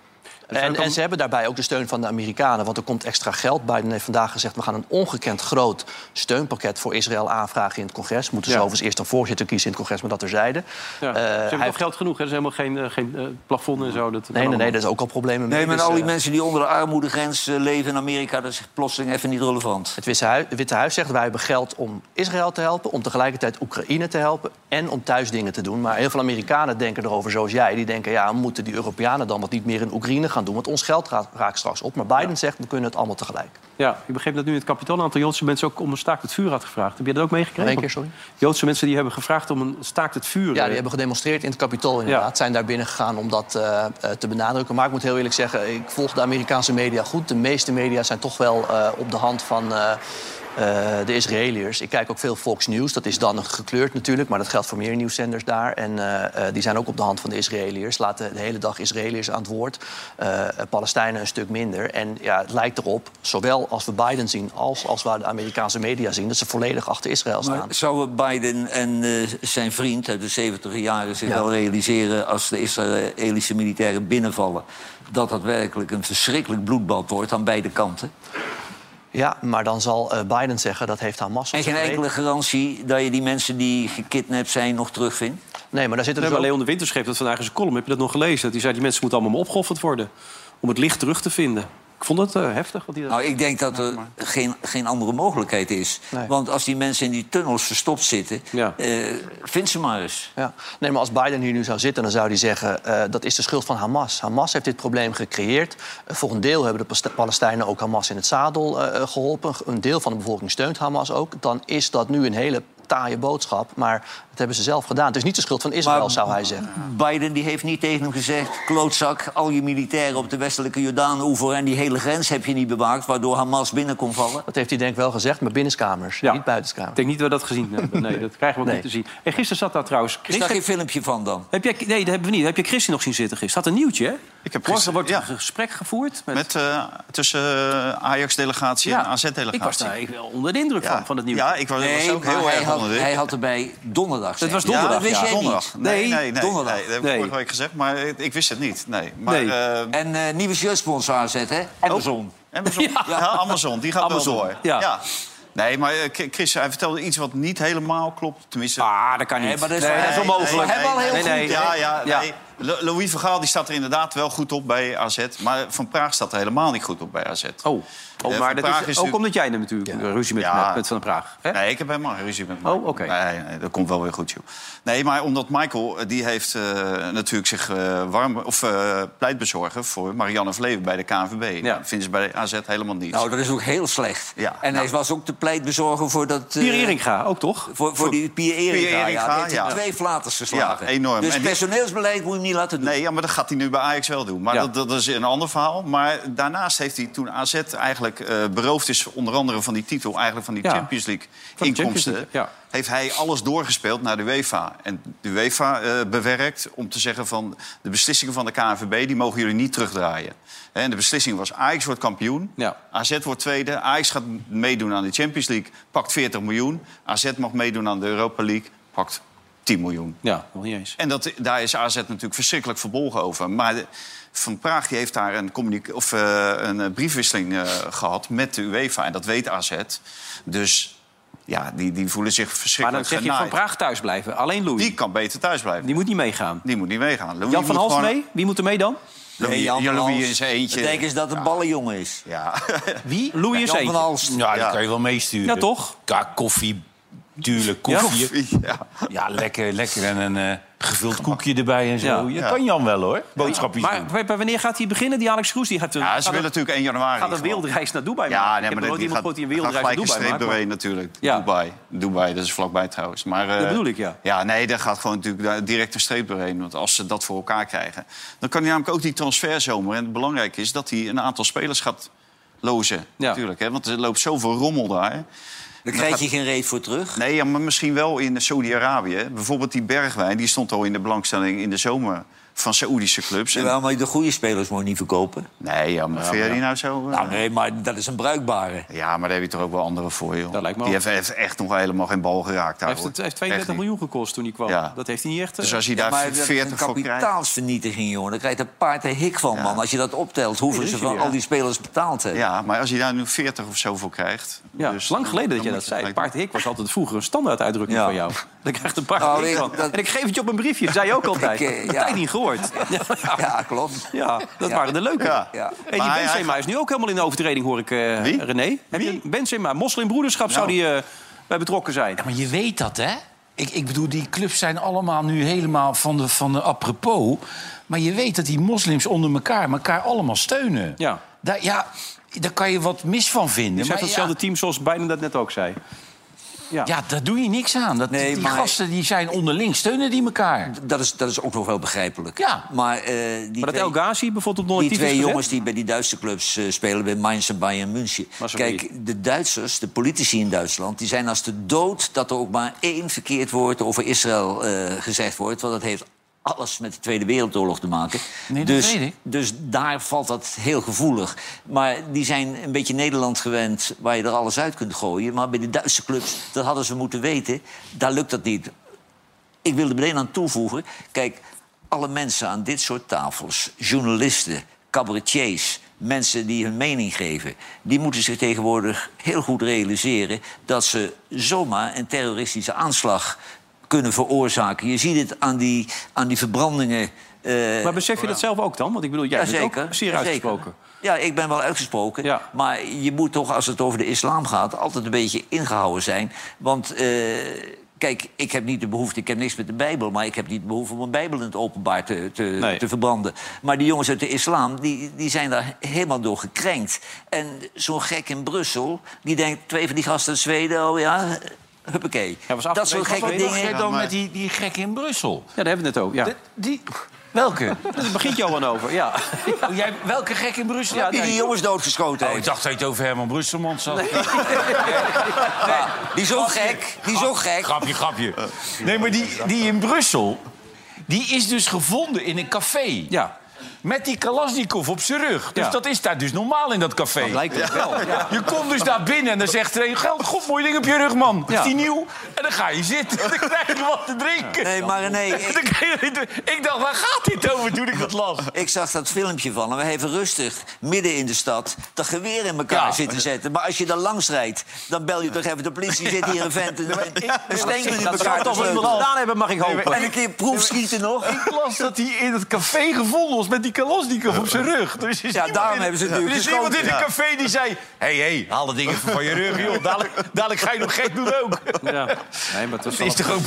J: en, en ze hebben daarbij ook de steun van de Amerikanen, want er komt extra geld. Biden heeft vandaag gezegd, we gaan een ongekend groot steunpakket voor Israël aanvragen in het congres. Moeten ze
A: Ja.
J: overigens eerst een voorzitter kiezen in het congres, maar dat terzijde.
A: Ja.
J: Eh,
A: ze
J: hij
A: hebben toch
J: heeft-
A: geld genoeg, hè? Er zijn helemaal geen, eh, geen eh, plafond en zo. Dat
J: Nee, nee, nee, daar is ook al problemen mee.
F: Nee, maar
J: Dus,
F: al die
J: eh,
F: mensen die onder de armoedegrens eh, leven in Amerika... dat is plotseling even niet relevant.
J: Het Witte Huis, Witte Huis zegt wij hebben geld om Israël te helpen, om tegelijkertijd Oekraïne te helpen en om thuisdingen te doen. Maar heel veel Amerikanen denken erover zoals jij. Die denken, ja, moeten die Europeanen dan wat niet meer in Oekraïne gaan doen? Want ons geld ra- raakt straks op. Maar Biden zegt, we kunnen het allemaal tegelijk.
A: Ja, ik begreep dat nu in het kapitool een aantal Joodse mensen ook om een staakt het vuur had gevraagd. Heb je dat ook meegekregen?
J: Nog één keer, sorry?
A: Joodse mensen die hebben gevraagd om een staakt het vuur.
J: Ja,
A: eh,
J: die hebben gedemonstreerd in het kapitool inderdaad. Zijn daar binnen gegaan om dat eh, eh, te benadrukken. Maar ik moet heel eerlijk zeggen, ik volg de Amerikaanse media goed. De meeste media zijn toch wel eh, op de hand van eh, eh, de Israëliërs. Ik kijk ook veel Fox News. Dat is dan gekleurd natuurlijk, maar dat geldt voor meer nieuwszenders daar. En eh, eh, die zijn ook op de hand van de Israëliërs. Laten de hele dag Israëliërs aan het woord. Eh, Palestijnen een stuk minder. En ja, het lijkt erop, zowel als we Biden zien als als we de Amerikaanse media zien... dat ze volledig achter Israël staan.
F: Maar zouden Biden en eh, zijn vriend uit de 70 jaren zich
J: Ja.
F: wel realiseren... als de Israëlische militairen binnenvallen... dat dat werkelijk een verschrikkelijk bloedbad wordt aan beide kanten?
J: Ja, maar dan zal eh, Biden zeggen dat heeft Hamas. op
F: En geen
J: zich geweten.
F: enkele garantie dat je die mensen die gekidnapt zijn nog terugvindt?
J: Nee, maar daar
A: We
J: zitten dus
A: hebben Leon de Winter schreef dat vandaag in zijn column. Heb je dat nog gelezen? Dat hij zei, die mensen moeten allemaal maar opgeofferd worden... om het licht terug te vinden. Ik vond het eh, heftig. Wat hij dat...
F: Nou, ik denk dat er geen, geen andere mogelijkheid is. Want als die mensen in die tunnels verstopt zitten, eh, vind ze maar eens.
J: Ja. Nee, maar als Biden hier nu zou zitten, dan zou hij zeggen... eh, dat is de schuld van Hamas. Hamas heeft dit probleem gecreëerd. Eh, voor een deel hebben de Pas- Palestijnen ook Hamas in het zadel eh, eh, geholpen. Een deel van de bevolking steunt Hamas ook. Dan is dat nu een hele taaie boodschap. Maar dat hebben ze zelf gedaan. Het is niet de schuld van Israël,
F: Maar-
J: zou hij zeggen.
F: Biden die heeft niet tegen hem gezegd... klootzak, al je militairen op de westelijke Jordaanoever... en die hele grens heb je niet bewaakt, waardoor Hamas binnen kon vallen.
J: Dat heeft hij denk ik wel gezegd, maar binnenkamers, niet buitenskamers.
A: Ik denk niet dat we dat gezien hebben. Nee, dat krijgen we ook
J: Nee.
A: niet te zien. En gisteren zat daar trouwens... Chris,
F: Is daar
A: heb-
F: geen filmpje van dan?
A: heb jij, nee, dat hebben we niet. Heb je Christie nog zien zitten gisteren? Had een nieuwtje, hè? Ik heb Morgen wordt een gesprek gevoerd met...
B: Met, eh, tussen eh, Ajax-delegatie en AZ-delegatie.
A: Ik was daar eigenlijk wel onder de indruk van, van het nieuws.
B: Ja, ik was, was
F: Nee,
B: ook
F: maar
B: heel
F: hij
B: erg
F: had-
B: onder de
F: hij had erbij donderdag.
A: Het was
F: zijn.
A: donderdag,
F: Ja, dat wist
A: ja.
F: jij
B: Donderdag.
F: niet.
B: Nee, nee, nee.
F: donderdag.
B: nee, dat heb ik
F: Nee.
B: vorige week gezegd, maar ik, ik wist het niet. Nee. Maar,
F: Nee.
B: eh, Oh,
F: En eh, nieuwe shirtsponsor aanzetten, hè? Amazon.
B: Amazon, ja. Amazon, die gaat wel door. Ja. Nee, maar eh, K- Chris, hij vertelde iets wat niet helemaal klopt. Tenminste...
A: Ah, dat kan niet.
F: maar dat is- dat is onmogelijk. We hebben al heel goed, hè?
B: Ja, ja,
F: Ja.
B: nee. Lo- Louis van Gaal die staat er inderdaad wel goed op bij AZ. Maar Van Praag staat er helemaal niet goed op bij AZ. Oh,
A: Oh, maar dat is, ook omdat jij er natuurlijk ruzie met, met Van den Praag.
B: Nee, ik heb helemaal geen ruzie met Michael. Oh, oké. Nee, nee, dat komt wel weer goed, joh. Nee, maar omdat Michael, eh, die heeft eh, natuurlijk zich eh, warm... of eh pleitbezorger voor Marianne Vleven bij de KNVB. Dat vinden ze bij AZ helemaal niet.
F: Nou, dat is ook heel slecht.
B: Ja, Nou.
F: en hij was ook de pleitbezorger voor dat... eh,
B: Pier Eringa,
A: ook toch?
F: Voor, voor, die Pier Eringa, ja. Die heeft hij twee flaters geslagen.
B: Ja, enorm.
F: Dus
B: En die-
F: personeelsbeleid moet je hem niet laten doen.
B: Nee, ja, maar dat gaat hij nu bij Ajax wel doen. Maar
F: Ja.
B: dat, dat is een ander verhaal. Maar daarnaast heeft hij toen AZ eigenlijk eh, beroofd is... onder andere van die titel, eigenlijk van die
A: Ja.
B: Champions League
A: Van de
B: inkomsten...
A: Champions League,
B: heeft hij alles doorgespeeld naar de UEFA. En de UEFA eh, bewerkt om te zeggen van... de beslissingen van de KNVB, die mogen jullie niet terugdraaien. Hè, En de beslissing was Ajax wordt kampioen, AZ wordt tweede... Ajax gaat meedoen aan de Champions League, pakt 40 miljoen... AZ mag meedoen aan de Europa League, pakt 10 miljoen.
A: Ja, nog niet eens.
B: En dat, daar is AZ natuurlijk verschrikkelijk verbolgen over. Maar de- Van Praag die heeft daar een, communic- of, eh, een eh, briefwisseling eh, gehad met de UEFA. En dat weet AZ. Dus ja, die, die voelen zich
A: Maar
B: verschrikkelijk
A: dan zeg je Van
B: genaaid.
A: Praag thuis blijven. Alleen Louis.
B: Die kan beter thuis blijven.
A: Die moet niet meegaan.
B: Die moet niet meegaan. Louis
A: Jan van
B: moet
A: Hals
B: gewoon-
A: mee? Wie moet er mee dan?
B: Louis- Nee, Jan ja, van Louis Hals. in zijn eentje.
F: Denk eens dat het ballenjongen is.
B: Ja.
A: Wie? Louis is
F: Jan
A: eentje.
F: van Hals.
E: Ja, dat kan je wel meesturen.
A: Ja, toch?
E: Ja, koffie. Tuurlijk,
A: Ja.
E: koffie.
B: Koffie, ja.
E: lekker, lekker. En een eh, gevuld koekje erbij en zo.
A: Ja.
E: Ja.
A: Ja.
E: kan Jan wel, hoor. Boodschapjes
A: Maar
E: doen.
A: w- w- wanneer gaat hij beginnen, die Alex Kroes? Die gaat,
B: Ja, ze willen natuurlijk 1 januari.
A: Gaat een
B: gewoon.
A: wereldreis naar Dubai
B: Ja,
A: maken.
B: nee,
A: ik
B: maar
A: heb
B: dat
A: nooit
B: die
A: iemand gehoord
B: gaat,
A: die een
B: gaat
A: wereldreis naar
B: gelijk een
A: Dubai
B: streep
A: maakt. maar-
B: doorheen natuurlijk. Dubai. Dubai, dat is vlakbij trouwens. Maar, eh,
A: Dat bedoel ik, ja.
B: Ja, nee, daar gaat gewoon natuurlijk daar direct een streep doorheen. Want als ze dat voor elkaar krijgen... dan kan hij namelijk ook die transferzomer... en het belangrijke is dat hij een aantal spelers gaat lozen. Natuurlijk, hè, want er loopt zoveel rommel daar.
F: Dan krijg je geen reet voor terug.
B: Nee, ja, maar misschien wel in Saudi-Arabië. Bijvoorbeeld die Bergwijn, die stond al in de belangstelling in de zomer... van Saoedische clubs. En-
F: Jawel, maar de goede spelers moet je niet verkopen.
B: Nee, ja, maar vind jij die nou zo...
F: Nou nee, maar dat is een bruikbare.
B: Ja, maar daar heb je toch ook wel andere voor, joh.
A: Dat lijkt me
B: die
A: ook.
B: heeft, heeft echt nog helemaal geen bal geraakt.
A: Hij
B: ouwe.
A: heeft, het, hij heeft
B: Echt
A: 32
B: niet.
A: miljoen gekost toen hij kwam.
B: Ja.
A: Dat heeft hij niet echt... eh,
B: Dus als je
F: Ja,
B: daar
F: maar dat is
B: 40 voor
F: een
B: krijgt...
F: kapitaalsvernietiging, jongen. Daar krijgt een paard de hik van, man. Als je dat optelt, hoeveel
B: Nee,
F: ze
B: dat
F: van
B: is-
F: al die spelers betaald hebben.
B: Ja, maar als je daar nu 40 of zo voor krijgt... dus
A: Ja, lang geleden dat
B: dan
A: jij
B: moet
A: dat
B: je
A: zei. Paard Hik was altijd vroeger een standaard uitdrukking van jou. Daar krijgt een paard
F: Nou,
A: hik
F: ik-
A: van.
F: dat-
A: En ik geef het je op een briefje, dat zei je ook altijd.
F: Ik, eh,
A: Dat
F: ja.
A: heb je niet gehoord. Ja,
F: Ja, klopt.
A: dat
F: Ja.
A: waren de leuke.
F: Ja. Ja.
A: En die
F: Maar hij-
A: Benzema
F: hij-
A: is nu ook helemaal in de overtreding, hoor ik, eh, René. Heb je Benzema, moslimbroederschap zou
F: Nou.
A: die eh, bij betrokken zijn.
E: maar je weet dat, hè? Ik, ik bedoel, die clubs zijn allemaal nu helemaal van de, van de apropos. Maar je weet dat die moslims onder elkaar elkaar allemaal steunen.
A: Ja.
E: Daar, ja, daar kan je wat mis van vinden.
A: Die zijn van
E: maar ja,
A: hetzelfde team zoals Biden dat net ook zei.
E: ja. daar doe je niks aan. Dat,
F: Nee,
E: die
F: maar-
E: gasten die zijn onderling, steunen die elkaar.
F: Dat is, dat is ook nog wel begrijpelijk.
E: Ja.
F: Maar, eh, die
A: Maar dat
F: twee-
A: El Ghazi bijvoorbeeld nooit
F: Die
A: actief is
F: twee
A: gezet?
F: jongens die bij die Duitse clubs eh, spelen, bij Mainz en Bayern München. Kijk, de Duitsers, de politici in Duitsland, die zijn als de dood dat er ook maar één verkeerd woord over Israël eh, gezegd wordt. Want dat heeft alles met de Tweede Wereldoorlog te maken.
E: Nee, dat
F: dus,
E: weet ik.
F: dus daar valt dat heel gevoelig. Maar die zijn een beetje Nederland gewend, waar je er alles uit kunt gooien. Maar bij de Duitse clubs, dat hadden ze moeten weten, daar lukt dat niet. Ik wil er meteen aan toevoegen. Kijk, alle mensen aan dit soort tafels, journalisten, cabaretiers, mensen die hun mening geven, die moeten zich tegenwoordig heel goed realiseren dat ze zomaar een terroristische aanslag kunnen veroorzaken. Je ziet het aan die, aan die verbrandingen. eh,
A: Maar besef je dat zelf ook dan? Want ik bedoel, jij
E: dus
A: bent ook zeer
F: ja,
A: uitgesproken.
F: Ja, ik ben wel uitgesproken. Maar je moet toch, als het over de islam gaat, altijd een beetje ingehouden zijn. Want eh, kijk, ik heb niet de behoefte, ik heb niks met de Bijbel, maar ik heb niet de behoefte om een Bijbel in het openbaar te, te, te verbranden. Maar die jongens uit de islam, die, die zijn daar helemaal door gekrenkt. En zo'n gek in Brussel, die denkt, twee van die gasten uit Zweden, oh ja. Huppakee. dat soort gekke
E: Wat
F: dingen.
E: dacht jij dan met die, die gek in Brussel?
A: Ja, daar hebben we het net over. Ja.
E: De- die, welke?
A: Daar begint Johan over, ja.
E: Oh, jij, welke gek in Brussel?
A: Ja,
E: heb je
A: nee.
F: Die jongens doodgeschoten.
E: Oh, ik dacht dat je het over Herman Brusselmans had.
F: Die is ook gek. Die is ook gek.
E: Grapje, grapje. Nee, maar die, die in Brussel, die is dus gevonden in een café.
A: Ja.
E: Met die Kalashnikov op zijn rug. Dus
A: Ja.
E: dat is daar dus normaal in dat café.
A: Dat lijkt het wel, ja.
E: Je komt dus daar binnen en dan zegt er een... "Geld, God, mooi ding op je rug, man.
A: Ja.
E: Is die nieuw? En dan ga je zitten. Dan krijg je wat te drinken.
F: Nee, maar nee,
E: En dan krijg je- Ik dacht, waar gaat dit over toen ik dat las?
F: Ik zag dat filmpje van hem. Even rustig, midden in de stad, dat geweer in elkaar
E: Ja.
F: zitten zetten. Maar als je daar langs rijdt, dan bel je toch even de politie. Zit hier een vent, een, een, een stengel in
A: Dat zou
F: elkaar te
A: toch wel iemand
F: sleutelen.
A: gedaan hebben, mag ik hopen.
F: En een keer proefschieten nog.
E: Ik las dat hij in het café gevonden was met die Kalashnikov op zijn rug. Dus is ja,
F: daarom hebben ze het
E: Er
F: natuurlijk
E: is iemand in het
F: geschoten.
E: café die zei... hey, hey, haal de dingen even van je rug, joh. Dadelijk, dadelijk ga je nog gek doen ook.
A: Ja. Nee, maar het was
E: Het is toch ook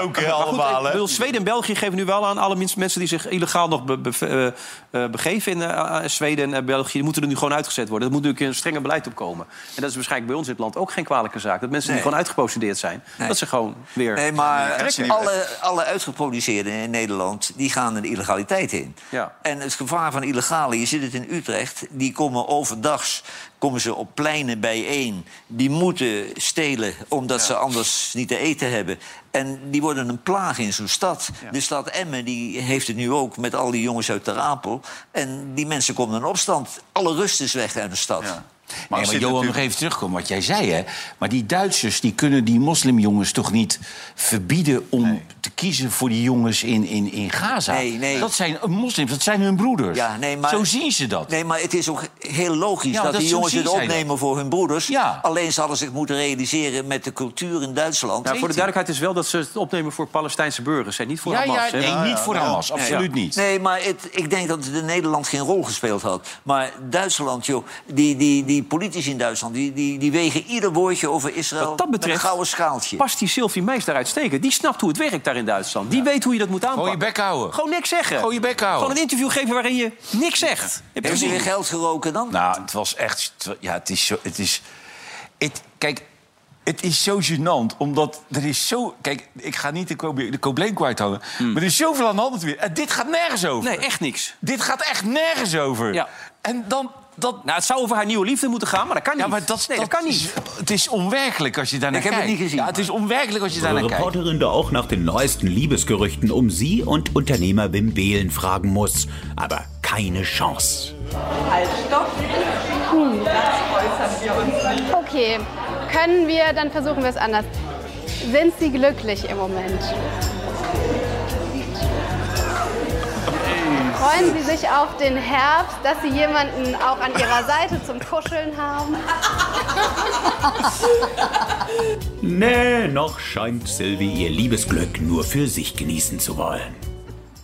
E: ook, hè,
A: Maar goed,
E: allemaal,
A: ik
E: hè?
A: bedoel, Zweden en België geven nu wel aan alle mens- mensen die zich illegaal nog be- be- eh, eh, begeven in eh, eh, Zweden en eh, België. Die moeten er nu gewoon uitgezet worden. Er moet natuurlijk een strenger beleid op komen. En dat is waarschijnlijk bij ons in het land ook geen kwalijke zaak. Dat mensen
F: Nee.
A: die gewoon uitgeprocedeerd zijn, dat ze gewoon weer.
F: Nee, maar
A: trekken.
F: alle, alle uitgeproduceerden in Nederland die gaan in de illegaliteit in.
A: Ja.
F: En het gevaar van illegale, je zit het in Utrecht... die komen overdags komen ze op pleinen bijeen. Die moeten stelen omdat ze anders niet te eten hebben. En die worden een plaag in zo'n stad. De stad Emmen die heeft het nu ook met al die jongens uit Ter Apel. En die mensen komen in opstand. Alle rust is weg uit de stad.
E: Maar,
F: als dit
E: nee, maar Johan,
F: natuurlijk-
E: nog even terugkomen wat jij zei, hè. Maar die Duitsers die kunnen die moslimjongens toch niet verbieden... om te kiezen voor die jongens in, in, in Gaza?
F: Nee, nee.
E: Dat zijn eh, moslims, dat zijn hun broeders.
F: Ja, nee, maar-
E: Zo zien ze dat.
F: Nee, maar het is ook heel logisch
E: Ja,
F: dat,
E: dat
F: die
E: zo
F: jongens
E: zien
F: het
E: zij
F: opnemen voor hun broeders. Alleen ze hadden zich moeten realiseren met de cultuur in Duitsland.
A: Ja, Nou, voor de duidelijkheid is wel dat ze het opnemen voor Palestijnse burgers en niet voor
F: Ja, ja,
A: Hamas. hè?
E: nee, niet voor Hamas, absoluut niet.
F: Nee, maar het, ik denk dat het in Nederland geen rol gespeeld had. Maar Duitsland, joh, die, die, die politici in Duitsland... die, die, die wegen ieder woordje over Israël
A: Wat dat
F: met
A: betreft
F: een gouden schaaltje.
A: past die Sylvie Meis daar uitstekend. Die snapt hoe het werkt daar in Duitsland. Die weet hoe je dat moet aanpakken.
E: Gewoon je bek houden.
A: Gewoon niks zeggen.
E: Gewoon je bek houden.
A: Gewoon een interview geven waarin je niks zegt. Heb je
F: Heeft ze
A: gezien?
F: weer geld geroken dan?
E: Nou, het was echt... het wa- Ja, het is zo... Het is, het, kijk, het is zo gênant, omdat er is zo... Kijk, ik ga niet de, Kobe- de Kobleen kwijt hangen...
B: Hmm.
E: maar er is zoveel aan de hand weer. En dit gaat nergens over.
A: Nee, echt niks.
E: Dit gaat echt nergens over. En dan
A: dat... Nou, het zou over haar nieuwe liefde moeten gaan, maar dat kan niet. Ja, maar dat, nee, dat, kan niet.
E: Het is onwerkelijk als je daarnaar
A: Ik heb
E: kijkt.
A: het niet gezien.
E: Ja, het is onwerkelijk als je daarnaar
M: Unsere
E: kijkt.
M: Reporterin da auch nach den neuesten Liebesgerüchten um sie und Unternehmer Wim Behlen fragen muss. Aber keine Chance.
N: Halt, stopp. Das äußern wir uns nicht.
O: Okay, können wir, dann versuchen wir es anders. Sind Sie glücklich im Moment? Freuen Sie sich auf den Herbst, dass Sie jemanden auch an Ihrer Seite zum Kuscheln haben?
M: Nee, noch scheint Sylvie ihr Liebesglück nur für sich genießen zu wollen.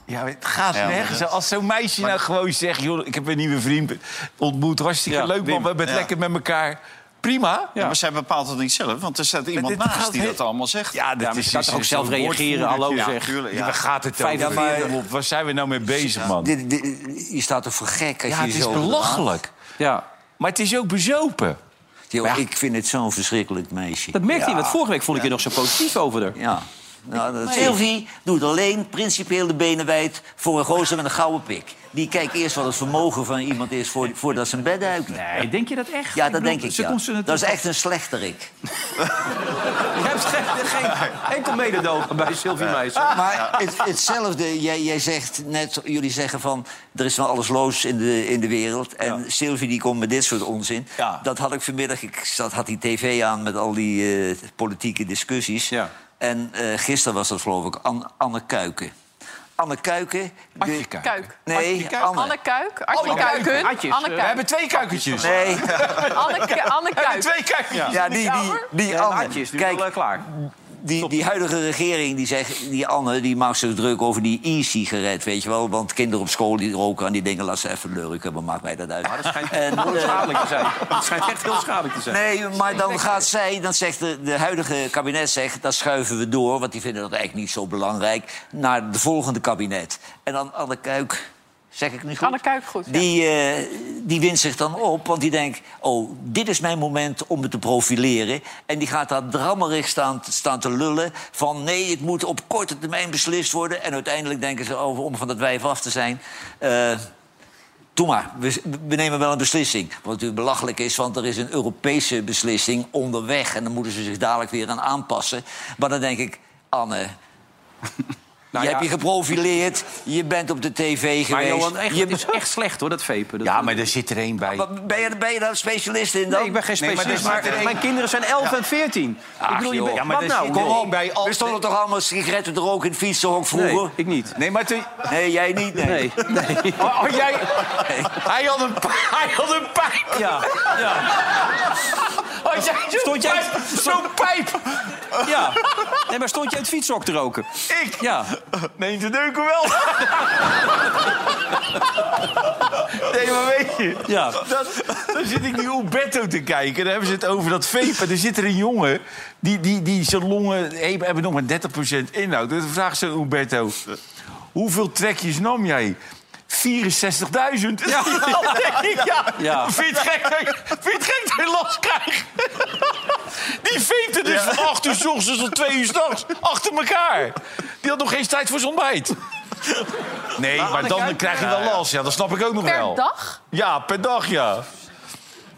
E: Ja, het gaat
M: Ja, maar
E: nergens.
M: dat-
E: Als zo'n meisje nou gewoon zegt... joh, ik heb een nieuwe vriend ontmoet. Hartstikke
B: Ja,
E: leuk, man.
B: Wim,
E: We hebben het
B: ja.
E: lekker met elkaar. Prima.
B: Ja, maar zij bepaalt het niet zelf, want er staat iemand
E: dit
B: naast
E: gaat
B: die
E: heel-
B: dat allemaal zegt.
E: Ja, dat
B: maar
E: is,
B: ze kan
E: is
B: toch ook
E: een
B: zelf
E: soort
B: reageren,
E: woordvoerder.
B: hallo
E: Ja,
B: zeg.
E: tuurlijk,
B: Ja,
E: ja. Waar gaat het
B: Vijf
E: over?
B: jaar.
E: Rob, Waar zijn we nou mee bezig, man?
F: Dit- dit- je staat toch voor gek als
E: Ja,
F: je
E: het
F: je
E: is
F: zo gedraagt?
E: belachelijk.
A: Ja.
E: Maar het is ook bezopen.
F: Yo, Ik vind het zo'n verschrikkelijk meisje.
A: Dat merkte je,
F: Ja.
A: want vorige week vond ik je nog zo positief over haar.
F: Ja. Nou, dat
A: Nee.
F: Sylvie doet alleen principieel de benen wijd voor een gozer met een gouden pik. Die kijkt eerst wat het vermogen van iemand is voor, voordat ze een bed duikt. Nee,
A: denk je dat echt?
F: Ja,
A: Ik
F: dat
A: bedoel,
F: denk ik,
A: ze
F: ja.
A: komt ze
F: Dat
A: natuurlijk-
F: is echt een slechterik.
A: Je hebt geen, geen enkel mededogen bij Sylvie Meijs.
F: Maar het, hetzelfde, jij, jij zegt net, jullie zeggen van... er is van alles los in de, in de wereld. En Sylvie die komt met dit soort onzin. Dat had ik vanmiddag, ik zat, had die tv aan met al die eh, politieke discussies. En eh, gisteren was dat geloof ik An- Anne Kuiken. Anne Kuiken... de-
H: Kuik.
F: Nee, Anne.
H: Anne Kuik. Artje Kuiken. Anne Kuik.
E: twee kuikentjes.
F: Nee.
H: Anne, Ku- Anne Kuik.
F: Ja, die, die, die Anne. Kijk,
A: eh,
F: Die, die huidige regering, die, zegt, die Anne, die maakt zich druk over die e-sigaret, weet je wel. Want kinderen op school die roken aan die dingen, laat ze even lurken, maar maakt mij dat uit.
A: Maar dat schijnt
F: En,
A: heel
F: eh,
A: schadelijk te zijn. Dat schijnt echt heel schadelijk te zijn.
F: Nee, maar dan gaat zij, dan zegt de, de huidige kabinet, zegt, dat schuiven we door, want die vinden dat eigenlijk niet zo belangrijk, naar de volgende kabinet. En dan Anne Kuik, zeg ik niet goed?
H: Anne Kuik, goed.
F: Die, eh, die wint zich dan op, want die denkt... oh, dit is mijn moment om me te profileren. En die gaat daar drammerig staan, staan te lullen... van nee, het moet op korte termijn beslist worden. En uiteindelijk denken ze over om van dat wijf af te zijn... eh Doe maar, we, we nemen wel een beslissing. Wat natuurlijk belachelijk is, want er is een Europese beslissing onderweg... en dan moeten ze zich dadelijk weer aan aanpassen. Maar dan denk ik, Anne, je hebt je geprofileerd, je bent op de tv geweest.
A: Nou Maar Johan, echt,
F: je
A: het is echt slecht hoor, dat vapen. Dat
E: Ja, maar daar zit er één bij.
F: Maar ben je, ben je daar specialist in dan?
A: Nee, ik ben geen specialist, maar, mijn kinderen zijn 11 en 14. ik bedoel, je bent,
F: ja,
A: wat nou?
F: gewoon bij al... We stonden toch allemaal sigaretten te roken in het fietsenhok vroeger?
A: Nee, ik niet.
E: Nee, maar
F: Nee, jij niet, nee.
A: Nee.
E: Oh, oh, jij... Hij had een, pa- hij had een pijp.
A: Ja, ja.
E: Had jij zo'n
A: Stond jij-
E: pijp? Zo'n pijp.
A: Ja. Nee, maar stond je het fietshok te roken?
E: Ik?
A: Ja.
E: Neem de deuken wel. Nee, maar weet je,
A: Ja.
E: dat, dan zit ik nu op Betto te kijken. Dan hebben ze het over dat vapen. Er zit er een jongen, die, die, die zijn longen hey, hebben nog maar 30% inhoud. Dan vraagt ze aan Umberto, hoeveel trekjes nam jij? 64.000. Ja. ja.
A: Ja.
E: Vind je het gek dat ik- vind je het gek dat je last krijgt? Die veepte dus van 8 uur s ochtends tot 2 uur s'nachts. Achter elkaar. Die had nog geen tijd voor zijn ontbijt. Nee,
A: Maar
E: maar
A: Anne
E: dan
A: Kuiken-
E: krijg je wel last. Ja, dat snap ik ook nog
H: Per
E: wel.
H: dag?
E: Ja, per dag, ja.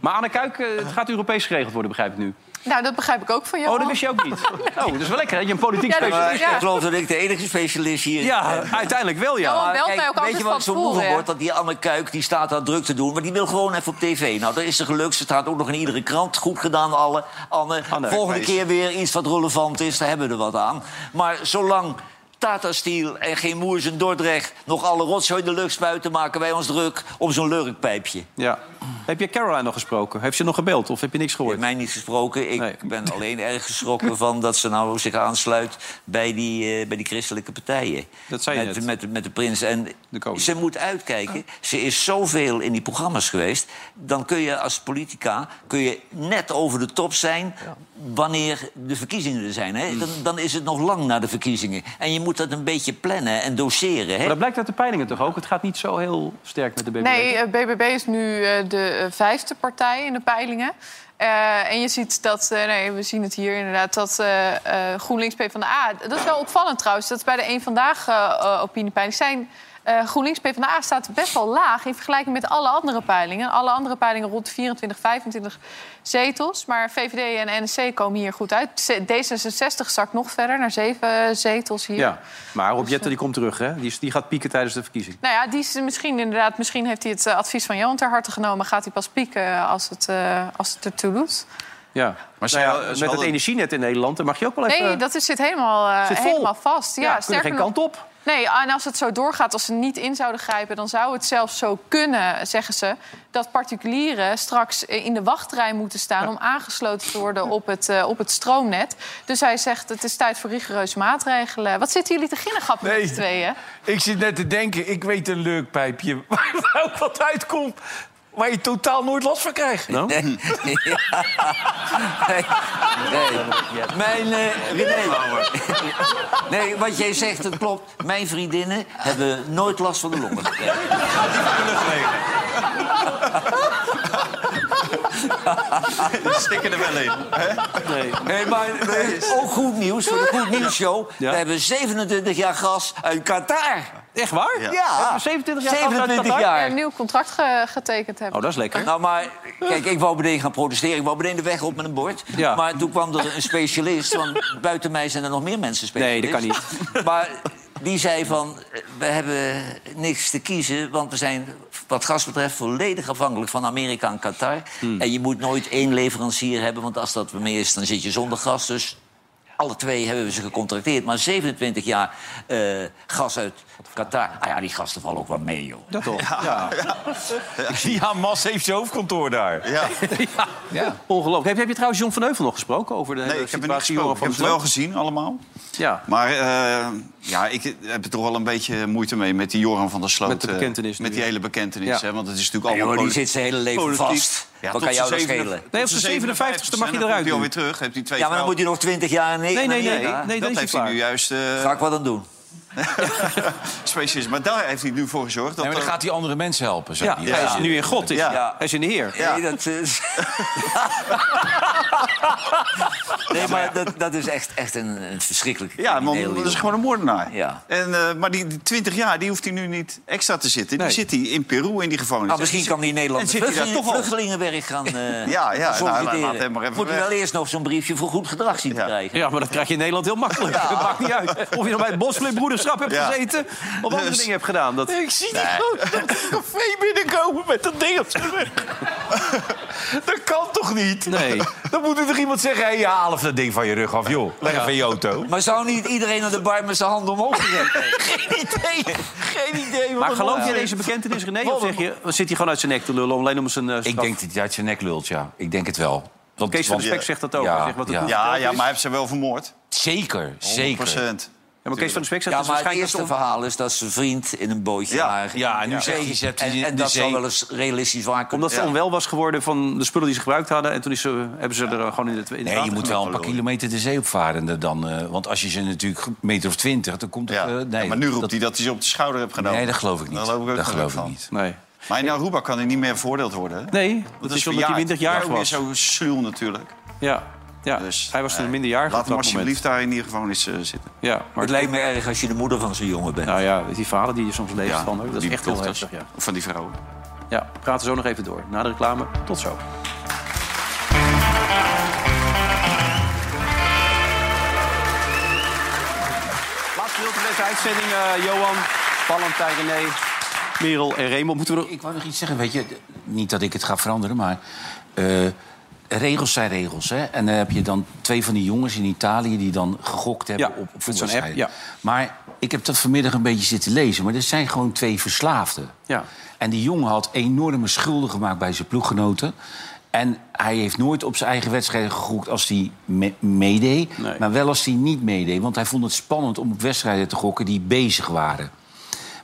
A: Maar Anne Kuik, eh, het gaat Europees geregeld worden, begrijp ik nu.
H: Nou, dat begrijp ik ook van jou.
A: Oh, dat wist je ook niet. Oh, dat is wel lekker dat je een politiek
H: Ja, dat-
A: specialist
H: ja.
F: Ik geloof dat ik de enige specialist hier
A: Ja,
F: ben.
A: uiteindelijk wel, ja.
H: Johan belt mij ook
F: Weet
H: altijd
F: je
H: van
F: wat zo
H: tevoren,
F: moe
H: hè?
F: wordt? Dat die Anne Kuik die staat daar druk te doen. Maar die wil gewoon even op tv. Nou, dat is ze geluk. Ze staat ook nog in iedere krant. Goed gedaan, alle. Anne.
A: Anne,
F: Volgende
A: wees.
F: keer weer iets wat relevant is. Daar hebben we er wat aan. Maar zolang Tata Steel en geen Moers in Dordrecht... nog alle rotzooi de lucht spuiten... maken wij ons druk om zo'n lurkpijpje.
A: Ja. Heb je Caroline nog gesproken? Heeft ze nog gebeld of heb je niks gehoord?
F: Mij niet gesproken. Ik ben alleen erg geschrokken van dat ze nou zich aansluit bij die, eh, bij die christelijke partijen.
A: Dat zei je
F: met,
A: net.
F: Met, met de prins. En ze moet uitkijken. Ze is zoveel in die programma's geweest. Dan kun je als politica kun je net over de top zijn wanneer de verkiezingen er zijn.
A: Mm.
F: Hè? Dan, dan is het nog lang na de verkiezingen. En je moet dat een beetje plannen en doseren. Hè?
A: Maar dat blijkt uit de peilingen toch ook? Het gaat niet zo heel sterk met de BBB.
H: Nee, eh, BBB is nu eh, de eh, vijfde partij in de peilingen. Eh, en je ziet dat, eh, nee, we zien het hier inderdaad, dat eh eh GroenLinks PvdA... Dat is wel opvallend trouwens, dat bij de Eén Vandaag eh eh, opiniepeiling zijn... eh GroenLinks PvdA staat best wel laag in vergelijking met alle andere peilingen. Alle andere peilingen rond 24, 25 zetels. Maar VVD en NSC komen hier goed uit. D66 zakt nog verder naar zeven zetels hier.
A: Ja, maar Rob Jetten
H: eh,
A: die komt terug, hè? Die, is- die gaat pieken tijdens de verkiezing.
H: Nou ja, die is misschien inderdaad, misschien heeft hij het eh, advies van Johan ter harte genomen. Gaat hij pas pieken als het, eh als het ertoe doet?
A: Ja. Maar
B: ze- ze
A: met
B: hadden-
A: het energienet in Nederland, daar mag je ook wel even...
H: Nee, dat is, zit helemaal, eh,
A: Zit vol.
H: helemaal vast. Ja,
A: Ja, kunnen
H: sterker
A: geen
H: nog-
A: kant op.
H: Nee, en als het zo doorgaat, als ze niet in zouden grijpen... dan zou het zelfs zo kunnen, zeggen ze... dat particulieren straks in de wachtrij moeten staan... om aangesloten te worden op het, eh, op het stroomnet. Dus hij zegt, het is tijd voor rigoureuze maatregelen. Wat zitten jullie te ginnegappen met z'n tweeën?
E: Ik zit net te denken, ik weet een leuk pijpje waar ook wat uitkomt... waar je totaal nooit last van krijgt.
F: Nee. Mijn, eh, nee. nee, wat jij zegt, dat klopt. Mijn vriendinnen hebben nooit last van de longen.
B: Die stikken er wel in. Hè?
A: Nee.
F: Nee, maar eh, ook goed nieuws voor de Goed Nieuws Show. We hebben 27 jaar gas uit Qatar.
A: Echt waar? Oh,
F: Ja.
A: Hebben we 27 jaar gas uit
F: 27
A: Qatar?
F: jaar.
H: Een nieuw contract ge- getekend hebben.
F: Nou, maar kijk, ik wou meteen gaan protesteren. Ik wou meteen de weg op met een bord.
A: Ja.
F: Maar toen kwam er een specialist. Want buiten mij zijn er nog meer mensen specialist.
A: Nee, dat
F: kan niet. Maar die zei van, eh, we hebben niks te kiezen... want we zijn wat gas betreft volledig afhankelijk van Amerika en Qatar.
A: Hmm.
F: En je moet nooit één leverancier hebben... want als dat meer is, dan zit je zonder gas. Dus alle twee hebben we ze gecontracteerd. Maar 27 jaar eh, gas uit Qatar. Ah ja, die gasten vallen ook wel mee, joh.
A: Dat toch?
E: Ja. Ja, Mas heeft zijn hoofdkantoor daar.
B: Ja.
A: Ja. Ongelooflijk. Heb, heb je trouwens John van Heuvel nog gesproken over de
B: Nee,
A: hele
B: ik heb het niet
A: situatie
B: gesproken. Ik
A: van
B: heb het wel gezien allemaal.
A: Ja.
B: Maar eh, ja, ik heb er toch wel een beetje moeite mee met die Joran van der Sloot.
A: Met de bekentenis
B: eh, Met die hele bekentenis.
A: Ja.
B: Hè, want het is natuurlijk
F: Nee,
B: allemaal...
F: joh, die
B: poli-
F: zit zijn hele leven
B: politiek.
F: vast. Wat
B: tot
F: kan jou
B: zijn
F: dat
B: zevenen-
F: schelen?
A: Nee, op zijn 57ste mag je eruit
B: Dan komt hij
A: doen.
B: alweer terug. Heeft hij twee
F: Ja, maar
B: vrouwen.
F: dan moet hij nog 20 jaar in
A: nee, nee,
F: Amerika.
A: nee, nee,
B: dat
A: is
B: heeft
A: hij
B: hij nu juist... eh,
F: Ga ik wat aan doen?
B: specialist. Maar daar heeft hij nu voor gezorgd. Dat
I: Nee, maar dan
B: er-
I: gaat hij andere mensen helpen. Zo.
A: Ja,
I: Die-
A: hij is nu in God. Is,
B: Ja.
A: hij. Hij is in de Heer.
F: Nee, dat is... nee, maar dat, dat is echt, echt een, een verschrikkelijk
B: Ja, want dat is gewoon een moordenaar.
F: Ja.
B: En, eh, maar die, die 20 jaar, die hoeft hij nu niet extra te zitten.
F: Nee.
B: Die zit hij in Peru in die gevangenis.
F: Nou, misschien
B: En
F: kan die Nederlandse
B: zit hij daar
F: vluchtelingen,
B: toch al.
F: vluchtelingenwerk gaan eh
B: Ja, ja, nou,
F: solliciteren.
B: laat hem maar even
F: Moet hij
B: weg.
F: wel eerst nog zo'n briefje voor goed gedrag zien te krijgen.
A: Ja, maar dat krijg je in Nederland heel makkelijk. Dat maakt niet uit. Of je nog bij het Bosflipbroederschap hebt
B: Ja.
A: gezeten... of andere
B: Dus-
A: dingen hebt gedaan. Dat...
E: Ik zie die
B: Nee.
E: gewoon dat café binnenkomen met dat ding op zijn rug. Dat kan toch niet?
A: Nee.
E: Dan moet er toch iemand zeggen... hé, hey, haal even dat ding van je rug af, joh. Leg even in je auto.
F: Maar zou niet iedereen aan de bar met zijn handen omhoog gerecht hebben?
E: Geen idee. Geen idee.
A: Maar geloof je deze bekentenis, René? Of zeg je, zit hij gewoon uit zijn nek te lullen... om alleen om zijn eh,
I: Ik
A: straf-
I: denk dat hij uit zijn nek lult, ja. Ik denk het wel. Want,
A: Kees van de
I: want-
A: Spek zegt dat ook.
I: Ja,
A: Hij zegt wat het
I: ja.
A: doet.
B: Ja, ja, maar hij heeft ze wel vermoord.
I: Zeker,
E: eh,
I: zeker.
B: 100%.
A: Ja, maar Kees van de Spek zegt
F: Ja,
A: dat is
F: maar het
A: waarschijnlijk...
F: eerste verhaal is dat zijn vriend in een bootje
B: Ja,
F: lagen.
I: ja, en nu zegt hij, ze hebt
F: En,
I: in
F: en
I: de
F: dat zou
I: zee.
F: wel eens realistisch waar kunnen
A: Omdat ze onwel was geworden van de spullen die ze gebruikt hadden... en toen is ze, hebben ze er eh, gewoon in het, in het
I: Nee, je
A: water
I: moet wel een paar
A: gegooid.
I: kilometer de zee opvarende dan. eh, want als je ze natuurlijk een meter of twintig, dan komt het...
B: Ja.
I: eh, nee,
B: Ja, maar nu roept
I: dat-
B: hij dat hij ze op de schouder heeft genomen.
I: Nee, dat geloof ik niet.
B: Daar geloof ik ook
I: dat
B: nog
I: geloof ik
B: van.
I: niet.
A: Nee.
B: Maar in Aruba kan hij niet meer veroordeeld worden. hè?
A: Nee, dat, is omdat hij
B: verjaard.
A: minderjarig
B: Ja, ook weer
A: was.
B: zo sluw natuurlijk.
A: Ja, ja. hij was toen minderjarig
B: Dus,
A: op
B: Laat
A: dat moment.
B: hem alsjeblieft daar in ieder geval eens eh, zitten.
A: Ja, maar
F: Het lijkt me erg als je de moeder van zo'n jongen bent.
A: Nou ja, die verhalen die je soms leest van... Dat is
B: die
A: echt heel
B: dochters.
A: heftig, ja.
B: Van die vrouwen.
A: Ja, we praten zo nog even door. Na de reclame, tot zo. Laatste deel van deze uitzending, eh, Johan, Valentijn, René, Merel en Raymond. Moeten we nog...
I: Ik wou nog iets zeggen, weet je. d- Niet dat ik het ga veranderen, maar... eh, regels zijn regels, hè. En dan heb je dan twee van die jongens in Italië... die dan gegokt hebben
A: Ja,
I: op, op
A: met zo'n app,
I: voetbalwedstrijden.
A: ja.
I: Maar ik heb dat vanmiddag een beetje zitten lezen. Maar er zijn gewoon twee verslaafden.
A: Ja.
I: En die jongen had enorme schulden gemaakt bij zijn ploeggenoten. En hij heeft nooit op zijn eigen wedstrijden gegokt als hij me- meedeed.
A: Nee.
I: Maar wel als hij niet meedeed. Want hij vond het spannend om op wedstrijden te gokken die bezig waren.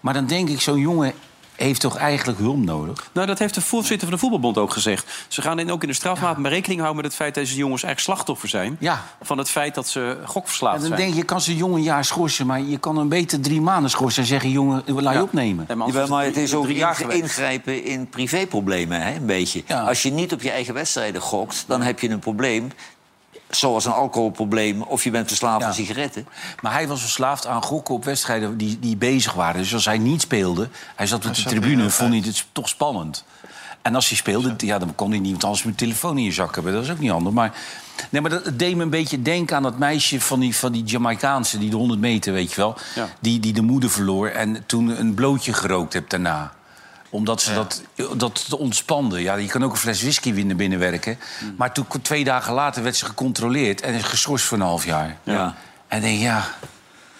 I: Maar dan denk ik, zo'n jongen heeft toch eigenlijk hulp nodig?
A: Nou, dat heeft de voorzitter van de voetbalbond ook gezegd. Ze gaan in, ook in de strafmaat maar rekening houden met het feit... dat deze jongens eigenlijk slachtoffer zijn.
I: Ja.
A: Van het feit dat ze gokverslaafd
I: En dan
A: zijn.
I: denk je, je kan zo'n jongen een jaar schorsen... maar je kan hem beter drie maanden schorsen en zeggen... jongen, laat je
A: Ja.
I: opnemen.
A: Nee, maar anders
F: Jawel, maar
A: is
F: het is
A: drie-
F: ook
A: drie jaar
F: ingre-
A: geweest.
F: ingrijpen in privéproblemen, hè, een beetje. Als je niet op je eigen wedstrijden gokt, dan heb je een probleem. Zoals een alcoholprobleem of je bent verslaafd aan sigaretten.
E: Maar hij was verslaafd aan gokken op wedstrijden die, die bezig waren. Dus als hij niet speelde, hij zat op de
B: zat
E: tribune,
B: in-
E: vond hij het toch spannend. En als hij speelde, ja, dan kon hij niet, want anders met telefoon in je zak hebben. Dat is ook niet handig. Maar, nee, maar dat het deed me een beetje denken aan dat meisje van die, van die Jamaicaanse, die de 100 meter, weet je wel.
A: Ja.
E: Die, die de moeder verloor en toen een blootje gerookt hebt daarna omdat ze dat, dat te ontspanden. Ja, je kan ook een fles whisky winnen binnenwerken.
A: Mm.
E: Maar toen, twee dagen later werd ze gecontroleerd en is geschorst voor een half jaar.
A: Ja.
E: En ik denk ja,
A: Ja,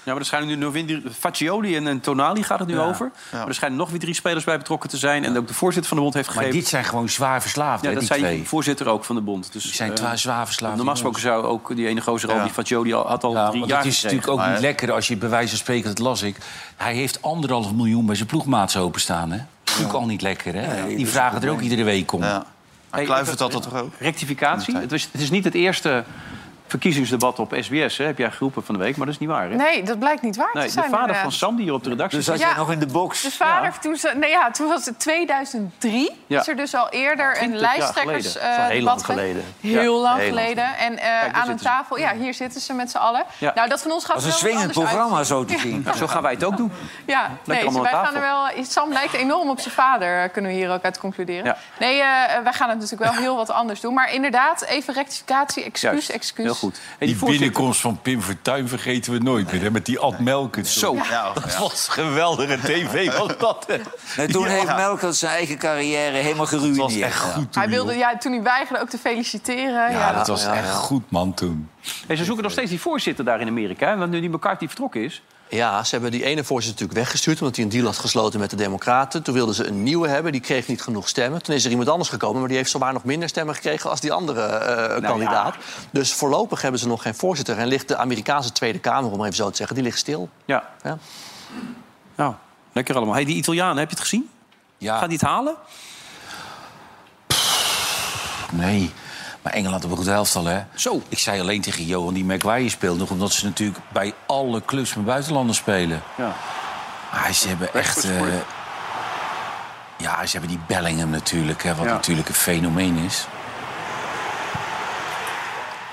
A: maar er schijnen nu nog weer... Faccioli en, en Tonali gaat het nu
E: Ja.
A: over. Maar er schijnen nog weer drie spelers bij betrokken te zijn. En ook de voorzitter van de bond heeft gegeven...
E: maar dit zijn gewoon zwaar verslaafd,
A: ja,
E: hè,
A: dat
E: die
A: zei
E: twee.
A: de voorzitter ook van de bond. Dus,
E: Die zijn
A: eh,
E: twa- zwaar verslaafd.
A: Normaal gesproken zou ook die ene gozer al,
E: Ja.
A: die Faccioli, al, had al drie
E: Want
A: jaar
E: het is
A: gekregen.
E: natuurlijk ook
A: Maar,
E: niet
A: eh,
E: lekker als je bij wijze van spreken, dat las ik... Hij heeft anderhalf miljoen bij zijn ploegmaats openstaan, hè? Natuurlijk al niet lekker, hè?
A: Ja, ja,
E: die
A: dat is
E: vragen
A: het
E: er ook
A: probleem.
E: iedere week om.
A: Hey,
B: Kluivert
A: even-
B: had dat toch ook?
A: Rectificatie. Het, was, het is niet het eerste verkiezingsdebat op SBS, hè? heb jij geroepen van de week, maar dat is niet waar. Hè?
H: Nee, dat blijkt niet waar
A: Oh. Nee,
H: te
A: de
H: zijn. eh,
A: vader
H: inderdaad.
A: van Sam die hier op de redactie
H: Dus zat jij Ja. nog in
F: de box.
H: De vader, toen, ze, nee, ja, toen was het 2003.
A: Ja.
H: Is er dus al eerder een
A: 20 jaar
H: lijsttrekkers...
A: geleden. Dat is al
H: eh,
A: heel lang
H: debat geweest.
A: geleden.
H: Heel
A: Ja.
H: lang
A: Heel lang
H: geleden. En eh,
A: daar
H: aan een
A: zitten ze.
H: tafel... Ja, hier zitten ze met z'n allen.
A: Ja.
H: Nou, dat van ons gaat
A: Dat
H: er
A: is een
H: wel wat
A: swingend
H: anders
A: programma,
H: uit.
A: zo te
H: Ja.
A: zien. Zo gaan wij het ook doen.
H: Ja, nee, dus
A: allemaal
H: wij
A: aan
H: gaan er wel... Sam lijkt enorm op zijn vader, eh, kunnen we hier ook uit concluderen.
A: Ja.
H: Nee, eh, wij gaan het natuurlijk wel heel wat anders doen. Maar inderdaad, even rectificatie, excuus, excuus.
P: die
H: voorzitter-
P: binnenkomst van Pim Fortuyn vergeten we nooit meer. Hè? Met die Ad Melkert. Zo,
H: Ja.
P: dat was geweldige tv. Was dat, hè?
F: En toen
P: Ja.
F: heeft Melkert zijn eigen carrière helemaal geruineerd. Dat was echt goed.
H: Hij wilde, ja, toen hij weigerde ook te feliciteren. Ja,
P: goed, man, toen.
A: En ze zoeken nog steeds die voorzitter daar in Amerika. hè, Want nu die McCarthy vertrokken is...
J: Ja, ze hebben die ene voorzitter natuurlijk weggestuurd... omdat hij een deal had gesloten met de Democraten. Toen wilden ze een nieuwe hebben, die kreeg niet genoeg stemmen. Toen is er iemand anders gekomen, maar die heeft zowaar nog minder stemmen gekregen... als die andere eh,
A: Nou
J: kandidaat. Dus voorlopig hebben ze nog geen voorzitter. En ligt de Amerikaanse Tweede Kamer, om even zo te zeggen, die ligt stil.
A: Ja.
J: Ja.
A: Nou, lekker allemaal. Hey, die Italianen, heb je het gezien?
E: Ja.
A: Gaat die het halen?
E: Nee. Maar Engeland had een goed elftal, hè? Zo. Ik zei alleen tegen Johan die McWaai speelt nog... omdat ze natuurlijk bij alle clubs met buitenlanders spelen.
A: Ja.
E: Maar ze hebben echt... eh, ja, ze hebben die Bellingham natuurlijk, hè, wat
A: Ja.
E: natuurlijk een fenomeen is.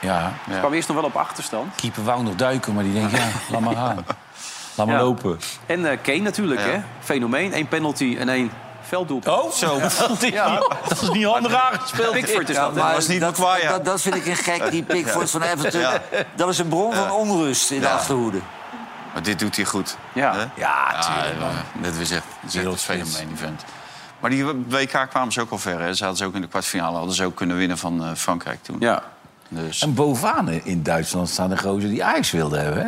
E: Ja.
A: Ze kwamen eerst nog wel op achterstand.
E: Keeper wou nog duiken, maar die denkt, ja, laat maar gaan. Laat maar
A: Ja.
E: lopen.
A: En eh, Kane natuurlijk, hè? Fenomeen. Eén penalty en één velddoelpunt.
E: Oh, zo.
A: Dat is niet handig aangespeeld. Pickford is
F: Ja,
A: dat. hè?
F: maar dat, dat, dat vind ik een gek, die Pickford van Everton.
B: Ja.
F: Dat is een bron van onrust in de
B: Ja.
F: Achterhoede.
B: Maar dit doet hij goed.
A: Ja,
B: ja tuurlijk. dat is echt, dat is echt een fenomeen event. Maar die WK kwamen ze ook al ver. Hè? Ze hadden ze ook in de kwartfinale hadden ze ook kunnen winnen van eh, Frankrijk toen.
A: Ja.
B: Dus,
E: En bovenaan in Duitsland staan de gozer die Ajax wilde hebben, hè?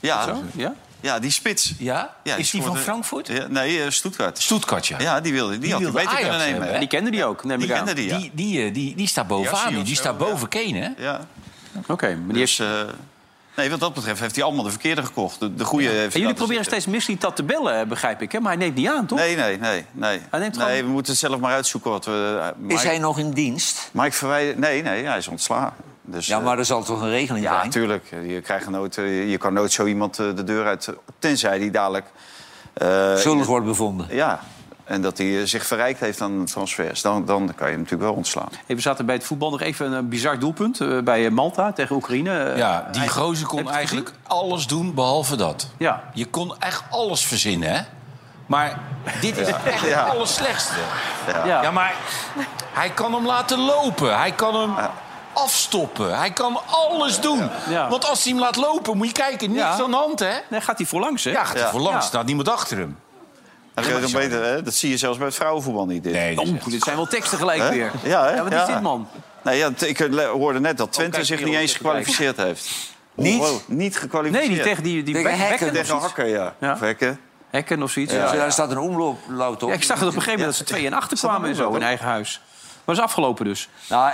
B: ja,
A: ja?
B: ja, die spits.
E: Ja? Is die van
B: scoorde-
E: Frankfurt?
B: Ja, nee, eh, Stuttgart.
E: Stuttgart, ja.
B: Ja, die wilde die, had hij
E: wilde
B: beter
E: Ajax
B: kunnen nemen.
E: hebben, hè?
A: Die kende die ook, neem
B: Die
A: ik aan.
B: kende die, ja.
E: Die, die, eh, die, die staat bovenaan
B: Jassie
E: nu.
B: of
E: Die
B: zo,
E: staat
B: ja.
E: boven Kane, hè?
B: ja.
A: Oké, maar die
B: Dus, eh, nee, wat dat betreft heeft hij allemaal de verkeerde gekocht. De, de goede heeft
A: En
B: hij
A: jullie
B: laten
A: proberen
B: zitten.
A: steeds Missie dat te bellen, eh, begrijp ik. Hè? Maar hij neemt niet aan, toch?
B: Nee, nee, nee. nee.
A: Hij neemt
B: nee
A: gewoon-
B: we moeten zelf maar uitzoeken wat we... eh,
F: Is
B: Mike-
F: hij nog in dienst?
B: Mike Verwij- Nee, nee, hij is ontslagen. Dus,
F: Ja,
B: eh,
F: maar er zal toch een regeling
B: ja,
F: zijn?
B: natuurlijk. Je, krijgt nooit, eh, je kan nooit zo iemand eh, de deur uit... Tenzij die dadelijk... eh,
F: Schuldig wordt bevonden.
B: Ja, en dat hij eh, zich verrijkt heeft aan transfers. Dan, dan kan je hem natuurlijk wel ontslaan.
A: Hey, we zaten bij het voetbal nog even een eh, bizar doelpunt eh, bij eh, Malta tegen Oekraïne. Eh,
E: Ja, die
A: hij-
E: gozer
A: Heb
E: kon
A: je het
E: eigenlijk alles doen behalve dat.
A: Ja.
E: Je kon echt alles verzinnen, hè? Maar dit is echt
B: Ja.
E: het allerslechtste.
B: Ja.
A: Ja.
E: Ja, maar hij kan hem laten lopen. Hij kan hem afstoppen. Hij kan alles doen.
A: Ja.
E: Want als hij hem laat lopen, moet je kijken, niks
A: Ja.
E: aan de hand, hè?
A: Nee, gaat hij voorlangs, hè?
E: Ja, gaat hij
B: Ja.
E: voorlangs.
A: Ja.
E: staat niemand achter hem.
B: Dat, kun je Eh, dan beter, hè? dat zie je zelfs bij het vrouwenvoetbal niet. Dit.
E: Nee, dat is
A: Oeh, dit zijn wel teksten gelijk
B: Hè?
A: weer.
B: Ja, hè?
A: wat is
B: Ja.
A: dit, man?
B: Nee, ja, t- ik eh, le- hoorde net dat
A: Oh,
B: Twente
A: kijk,
B: zich
A: hier
B: niet
A: ook
B: eens
A: even kijken.
B: gekwalificeerd heeft.
F: Niet?
B: Wow, niet
A: Nee,
B: gekwalificeerd.
A: die tegen die, die
F: Tegen
A: Beck-
F: Hekken.
A: Becken of
B: Tegen
A: zoiets.
B: Hakker, ja.
A: Ja.
B: Of Hekken.
A: Hekken of zoiets.
B: Ja.
A: ja.
F: Zo, daar staat een omloop op.
A: Ja, ik zag het op een gegeven moment dat ze 2 en 8 kwamen en zo in eigen huis. Maar dat is afgelopen dus.
F: Nou,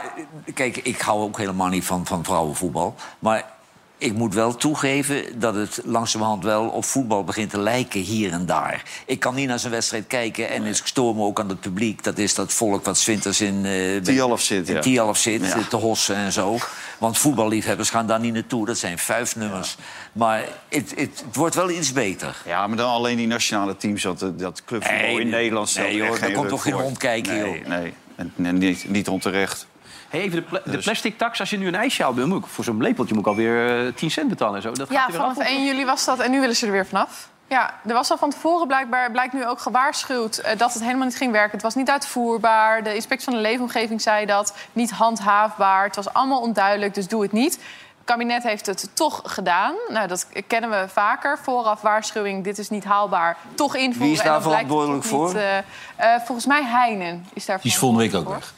F: kijk, ik hou ook helemaal niet van, van vrouwenvoetbal. Maar ik moet wel toegeven dat het langzamerhand wel op voetbal begint te lijken hier en daar. Ik kan niet naar zo'n wedstrijd kijken en ik stoor me ook aan het publiek. Dat is dat volk wat zwinters in... eh,
B: Tialf zit, ja.
F: in Tialf zit,
B: Ja.
F: eh, te hossen en zo. Want voetballiefhebbers gaan daar niet naartoe. Dat zijn vuifnummers. Maar het, het, het wordt wel iets beter.
B: Ja, maar dan alleen die nationale teams. Dat, eh, dat clubvoetbal
F: Nee,
B: in Nederland stelt
F: nee,
B: er
F: joh,
B: echt
F: daar komt
B: ruk
F: toch geen
B: voor.
F: hond kijken,
B: Nee,
F: joh.
B: nee. En, en niet, niet onterecht.
A: hey, even de, pla- de plastic tax, als je nu een ijsje haalt, dan moet ik voor zo'n lepeltje moet ik alweer eh, 10 cent betalen en zo. Dat gaat
H: Ja,
A: er weer af.
H: vanaf 1 juli was dat en nu willen ze er weer vanaf. Ja, er was al van tevoren blijkbaar, blijkt nu ook gewaarschuwd eh, dat het helemaal niet ging werken. Het was niet uitvoerbaar. De inspectie van de leefomgeving zei dat. Niet handhaafbaar. Het was allemaal onduidelijk, dus doe het niet. Het kabinet heeft het toch gedaan. Nou, dat kennen we vaker. Vooraf waarschuwing, dit is niet haalbaar. Toch invoeren.
I: Wie is daar
H: en dan blijkt het
I: verantwoordelijk
H: toch niet,
I: voor?
H: eh, eh, volgens mij Heinen is daar
I: Die is volgende week ook weg.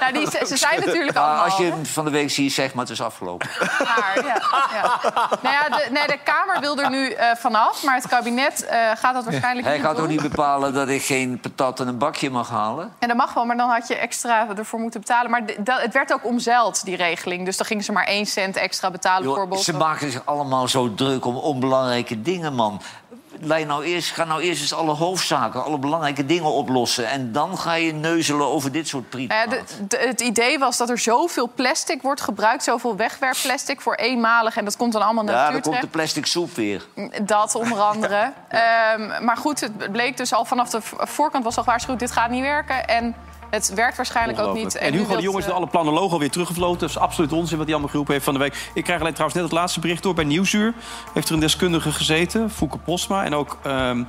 H: Nou, die, ze, ze zijn natuurlijk allemaal...
F: Als je hem van de week ziet, zeg maar, het is afgelopen.
H: Maar, ja, ja. Nou ja, de, nee, de Kamer wil er nu eh, vanaf, maar het kabinet eh, gaat dat waarschijnlijk
F: Hij
H: niet
F: gaat
H: doen.
F: ook niet bepalen dat ik geen patat en een bakje mag halen.
H: En dat mag wel, maar dan had je extra ervoor moeten betalen. Maar d- dat, het werd ook omzeild, die regeling. Dus dan gingen ze maar één cent extra betalen,
F: Joh,
H: bijvoorbeeld.
F: ze maken zich allemaal zo druk om onbelangrijke dingen, man. Lei nou eerst, ga nou eerst eens alle hoofdzaken, alle belangrijke dingen oplossen. En dan ga je neuzelen over dit soort priet.
H: Nou ja, de- de- het idee was dat er zoveel plastic wordt gebruikt, zoveel wegwerpplastic voor eenmalig. En dat komt dan allemaal naar de
F: Ja,
H: natuur
F: dan komt de
H: terecht.
F: plastic soep weer.
H: Dat onder andere. Ehm, maar goed, het bleek dus al vanaf de v- voorkant was al gewaarschuwd... dit gaat niet werken en het werkt waarschijnlijk ook niet.
A: Ongelooflijk. En
H: nu
A: Hugo de
H: wilt,
A: Jong is
H: eh,
A: door alle planologen alweer teruggevloten. Dat is absoluut onzin wat hij allemaal geroepen heeft van de week. Ik krijg alleen trouwens net het laatste bericht door. Bij Nieuwsuur heeft er een deskundige gezeten, Fouke Posma. En ook ehm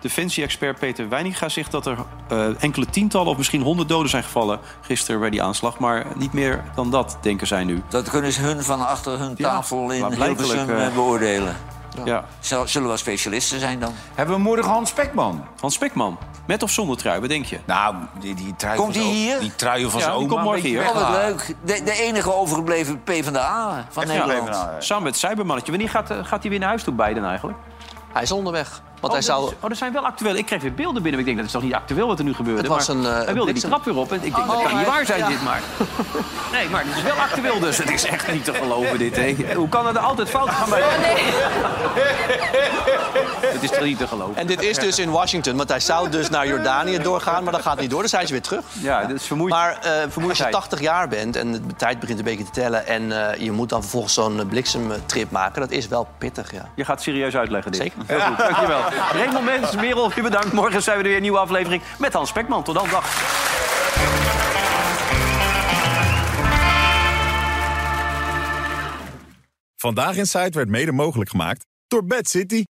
A: defensie-expert Peter Weininga zegt dat er eh, enkele tientallen... of misschien honderd doden zijn gevallen gisteren bij die aanslag. Maar niet meer dan dat, denken zij nu.
F: Dat kunnen ze hun van achter hun tafel in
A: blijkelijk,
F: Hilversum
A: eh,
F: eh, beoordelen.
A: Ja.
F: Zal- Zullen wel specialisten zijn dan?
A: Hebben we morgen Hans Spekman? Hans Spekman. Met of zonder trui, wat denk je?
I: Nou, die, die trui
F: Komt hij hier?
I: Die trui van
A: Ja,
I: zijn
A: die
I: oma.
A: komt morgen
I: een beetje Ah,
A: hier.
F: Oh, wat
I: weghalen.
F: leuk. De, de enige overgebleven PvdA van
A: Echt, ja.
F: Nederland.
B: eh,
A: Samen met Cybermannetje. Wanneer gaat, eh, gaat hij weer naar huis toe, Biden eigenlijk?
J: Hij is onderweg. Want
A: oh,
J: hij
A: dat
J: zou...
A: is- oh, er zijn wel actueel. Ik kreeg weer beelden binnen. Ik denk, dat is toch niet actueel wat er nu gebeurde?
J: Het was
A: maar
J: een, eh,
A: hij wilde die
J: bliksem.
A: trap weer op. En ik denk,
J: Oh,
A: dat kan niet
J: maar-
A: waar zijn,
J: ja.
A: dit maar. Nee, maar het is wel actueel dus. Het is echt niet te geloven, dit. Hè. Hoe kan er altijd fout gaan bij... Het is toch niet te geloven.
J: En dit is dus in Washington, want hij zou dus naar Jordanië doorgaan, maar dat gaat niet door, dus hij is weer terug.
A: Ja, dat is vermoeiend.
J: Maar eh, vermoeiend als je 80 jaar bent en de tijd begint een beetje te tellen en eh, je moet dan vervolgens zo'n eh, bliksemtrip maken, dat is wel pittig, ja.
A: Je gaat serieus uitleggen dit.
J: Zeker.
A: Heel goed, dankjewel. Raymond Mens, Merel, je bedankt. Morgen zijn we er weer een nieuwe aflevering met Hans Spekman. Tot dan, dag.
Q: Vandaag in Site werd mede mogelijk gemaakt door Bad City.